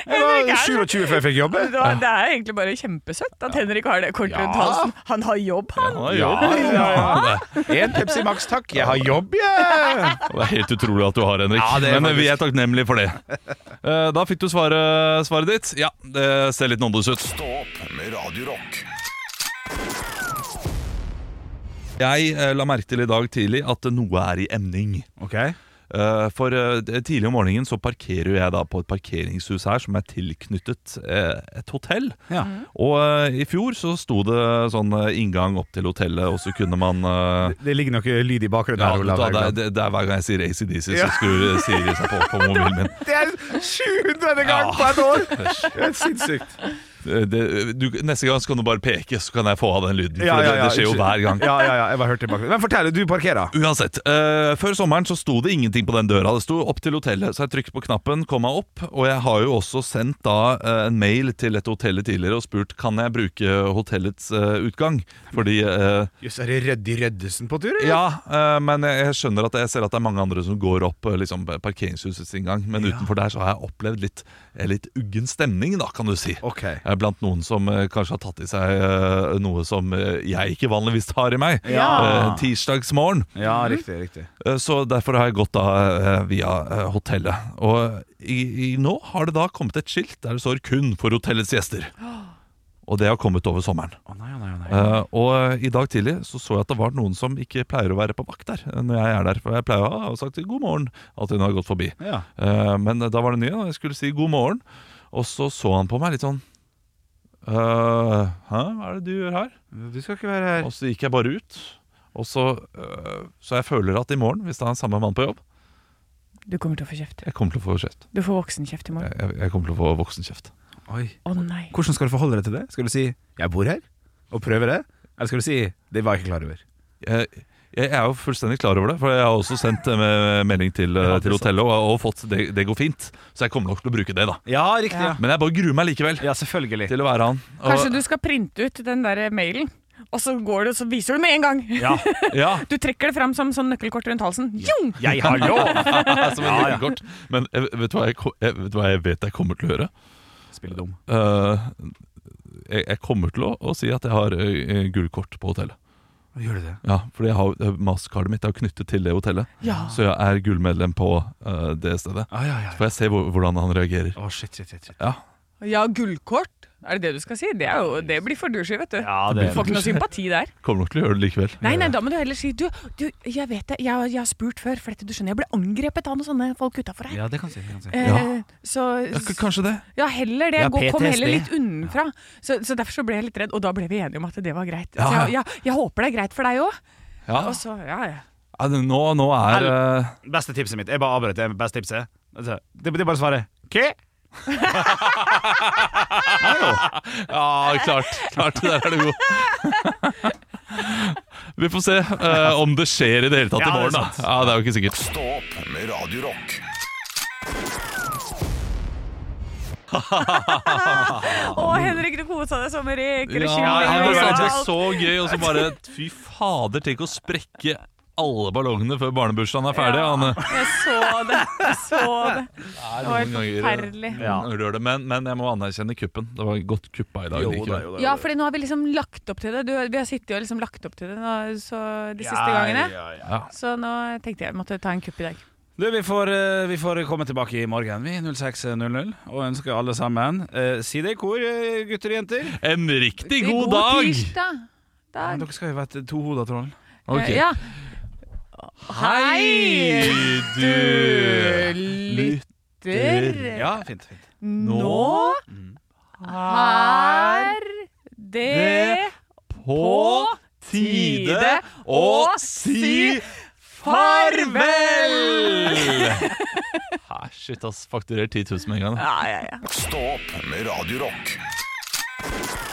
Speaker 3: Jeg var 27 før jeg fikk jobb.
Speaker 5: Det er- det er egentlig bare kjempesøtt at Henrik har det kortet rundt
Speaker 3: Ja.
Speaker 5: halsen. Han har jobb, han.
Speaker 4: Jeg har jobb.
Speaker 3: Én Pepsi Max, takk. Jeg har jobb, yeah.
Speaker 4: Og Det er helt utrolig at du har, Henrik.
Speaker 3: Ja, det er
Speaker 4: Men eh, vi
Speaker 3: faktisk-
Speaker 4: er takknemlige for det. Eh, da fikk du svaret, svaret ditt. Ja, det ser litt nådeløs ut.
Speaker 7: Stå opp med Radio Rock.
Speaker 4: Jeg eh, la merke til i dag tidlig at noe er i emning.
Speaker 3: Ok,
Speaker 4: Eh, For eh, det- tidlig om morgenen så parkerer jo jeg da på et parkeringshus her som er tilknyttet eh, et hotell.
Speaker 3: ja.
Speaker 4: Og eh, i fjor så sto det sånn eh, inngang opp til hotellet, og så kunne man eh,
Speaker 3: Det ligger noe lyd i bakgrunnen
Speaker 4: ja,
Speaker 3: her, Olav.
Speaker 4: da, det, er-
Speaker 3: Haugland.
Speaker 4: det, det er hver gang jeg sier ACDC,
Speaker 3: Ja.
Speaker 4: så skrur Siri seg på på mobilen min.
Speaker 3: Det er 700. gang
Speaker 4: Ja.
Speaker 3: på et år! Det er sinnssykt.
Speaker 4: Eh, det, du, Neste gang så kan du bare peke, så kan jeg få av den lyden. For
Speaker 3: Ja, ja,
Speaker 4: Det,
Speaker 3: ja,
Speaker 4: det skjer jo
Speaker 3: unnskyld.
Speaker 4: hver gang.
Speaker 3: Ja, ja, ja, jeg bare hørte det bakfra. Men fortell, du parkerer.
Speaker 4: Uansett, eh, Før sommeren så sto det ingenting på den døra. Det sto opp til hotellet, så jeg trykket på knappen, kom meg opp. Og jeg har jo også sendt da eh, en mail til dette hotellet tidligere og spurt kan jeg bruke hotellets eh, utgang. Fordi eh,
Speaker 3: Jøss, er det Røddi Røddesen på tur?
Speaker 4: Ja, eh, men jeg jeg skjønner at jeg ser at det er mange andre som går opp eh, liksom, parkeringshusets inngang. Men utenfor der så har jeg opplevd litt, eh, litt uggen stemning, da, kan du si.
Speaker 3: Ok.
Speaker 4: Eh, Blant noen som eh, kanskje har tatt i seg eh, noe som eh, jeg ikke vanligvis tar i meg.
Speaker 3: Ja.
Speaker 4: Eh, Tirsdagsmorgen.
Speaker 3: Ja, riktig, riktig.
Speaker 4: Eh, Så derfor har jeg gått da eh, via eh, hotellet. Og i, i, nå har det da kommet et skilt der det står 'kun for hotellets gjester'. Og det har kommet over sommeren.
Speaker 3: Å nei, å nei, å nei.
Speaker 4: Eh, og i dag tidlig så, så jeg at det var noen som ikke pleier å være på vakt der. eh, Når jeg er der For jeg pleier å ha sagt 'god morgen' alltid når jeg har gått forbi.
Speaker 3: Ja.
Speaker 4: Eh, men da var det nye, og jeg skulle si 'god morgen', og så så han på meg litt sånn «Eh, Hæ, hva er det du gjør her?
Speaker 3: Du skal ikke være her.
Speaker 4: Og så gikk jeg bare ut. Og så, øh, så jeg føler at i morgen, hvis det er den samme mann på jobb
Speaker 5: Du kommer til å få kjeft.
Speaker 4: Jeg kommer til å få kjeft.
Speaker 5: Du får voksenkjeft i morgen.
Speaker 4: Jeg, jeg- jeg kommer til å få voksenkjeft.
Speaker 3: Oi.
Speaker 5: Å nei.
Speaker 3: Hvordan skal du forholde deg til det? Skal du si 'jeg bor her', og prøve det? Eller skal du si 'det var jeg ikke klar over'?
Speaker 4: Jeg, jeg er jo fullstendig klar over det, for jeg har også sendt eh, me- melding til, eh, til hotellet og, og fått det, 'det går fint', så jeg kommer nok til å bruke det, da.
Speaker 3: Ja, riktig. Ja,
Speaker 4: Men jeg bare gruer meg likevel
Speaker 3: ja selvfølgelig.
Speaker 4: til å være han. Og-
Speaker 5: Kanskje du skal printe ut den der mailen, og så går du, så viser du med en gang.
Speaker 3: Ja.
Speaker 4: Ja,
Speaker 5: Du trekker det fram som sånn nøkkelkort rundt halsen. Jung!
Speaker 3: Jeg har lov!
Speaker 4: som en liten kort. Men jeg, vet, du hva jeg, ko- jeg, vet du hva jeg vet jeg kommer til å gjøre?
Speaker 3: Spille dum.
Speaker 4: Eh, jeg, jeg kommer til å, å si at jeg har eh, gullkort på hotellet.
Speaker 3: Gjør du det?
Speaker 4: Ja, fordi jeg har, eh, mastercardet mitt er jo knyttet til det hotellet. Så jeg er gullmedlem på eh, det stedet.
Speaker 3: Ah, ja, ja,
Speaker 4: Så får jeg se hvor, hvordan han reagerer.
Speaker 3: Å, shit, shit, shit, shit.
Speaker 4: Ja,
Speaker 5: Ja, gullkort. Er det det du skal si? Det, er jo, det blir for douchey, vet du.
Speaker 3: Ja,
Speaker 5: Du får ikke noe sympati der.
Speaker 4: Kommer nok til å gjøre det likevel.
Speaker 5: Nei, nei, da må du heller si Du, du jeg vet det, jeg, jeg har spurt før, for dette, du skjønner, jeg ble angrepet av noen sånne folk utafor her.
Speaker 3: Ja, det kan jeg si. Det kan jeg si.
Speaker 5: Eh,
Speaker 4: Ja.
Speaker 5: Så
Speaker 4: Ja, k- kanskje det.
Speaker 5: Ja, heller det.
Speaker 3: Ja,
Speaker 5: Gå, kom
Speaker 3: PTSD.
Speaker 5: heller litt unnafra. Så, så derfor så ble jeg litt redd, og da ble vi enige om at det var greit. Så
Speaker 4: Ja.
Speaker 5: jeg, ja, jeg håper det er greit for deg òg.
Speaker 4: Ja.
Speaker 5: Og så, ja, altså. ja.
Speaker 4: Ja, det- nå, nå er eh,
Speaker 3: Beste tipset mitt. Jeg bare avbrøt det. Beste tipset. Altså, Det, det er bare å svare 'Hva?'
Speaker 4: Ja, klart. klart Der er du god. Vi får se eh, om det skjer i det hele tatt
Speaker 3: Ja,
Speaker 4: i
Speaker 3: det er
Speaker 4: morgen. Da.
Speaker 3: sant.
Speaker 4: Ja, Det er jo ikke sikkert.
Speaker 7: Stå opp med Radio Rock.
Speaker 5: Å, Henrik, du kosa deg som reker og
Speaker 4: Ja, ja, det var
Speaker 5: kylling.
Speaker 4: så gøy, og så bare Fy fader, tenk å sprekke alle ballongene før barnebursdagen er ferdig. Anne.
Speaker 5: Jeg så det. Jeg så det. Det
Speaker 4: noen
Speaker 5: var helt
Speaker 4: ganger- eh,
Speaker 5: forferdelig.
Speaker 4: Noen ganger gjør det, Men, men jeg må anerkjenne kuppen. Det var godt kuppa i dag. likevel.
Speaker 5: Ja, fordi nå har vi liksom lagt opp til det. Du, vi har sittet og liksom lagt opp til det nå, så de siste gangene. Så nå tenkte jeg jeg måtte ta en kupp i dag.
Speaker 3: Du, vi får, eh, vi får komme tilbake i morgen, vi. 06.00. Og ønsker alle sammen eh, Si det i kor, eh, gutter og jenter.
Speaker 4: En riktig god, dag!
Speaker 5: tirsdag.
Speaker 3: Men
Speaker 5: dag.
Speaker 3: dere skal jo være tohoda troll.
Speaker 4: Ok.
Speaker 5: Ja.
Speaker 4: Hei,
Speaker 5: Hei,
Speaker 4: du
Speaker 5: lytter.
Speaker 3: Ja, fint. fint.
Speaker 5: Nå er det på tide å si farvel!
Speaker 4: Hæ, shit, ass. Fakturer 10 000 med en gang. da.
Speaker 5: Ja, ja, ja.
Speaker 7: Stå opp med Radio Rock.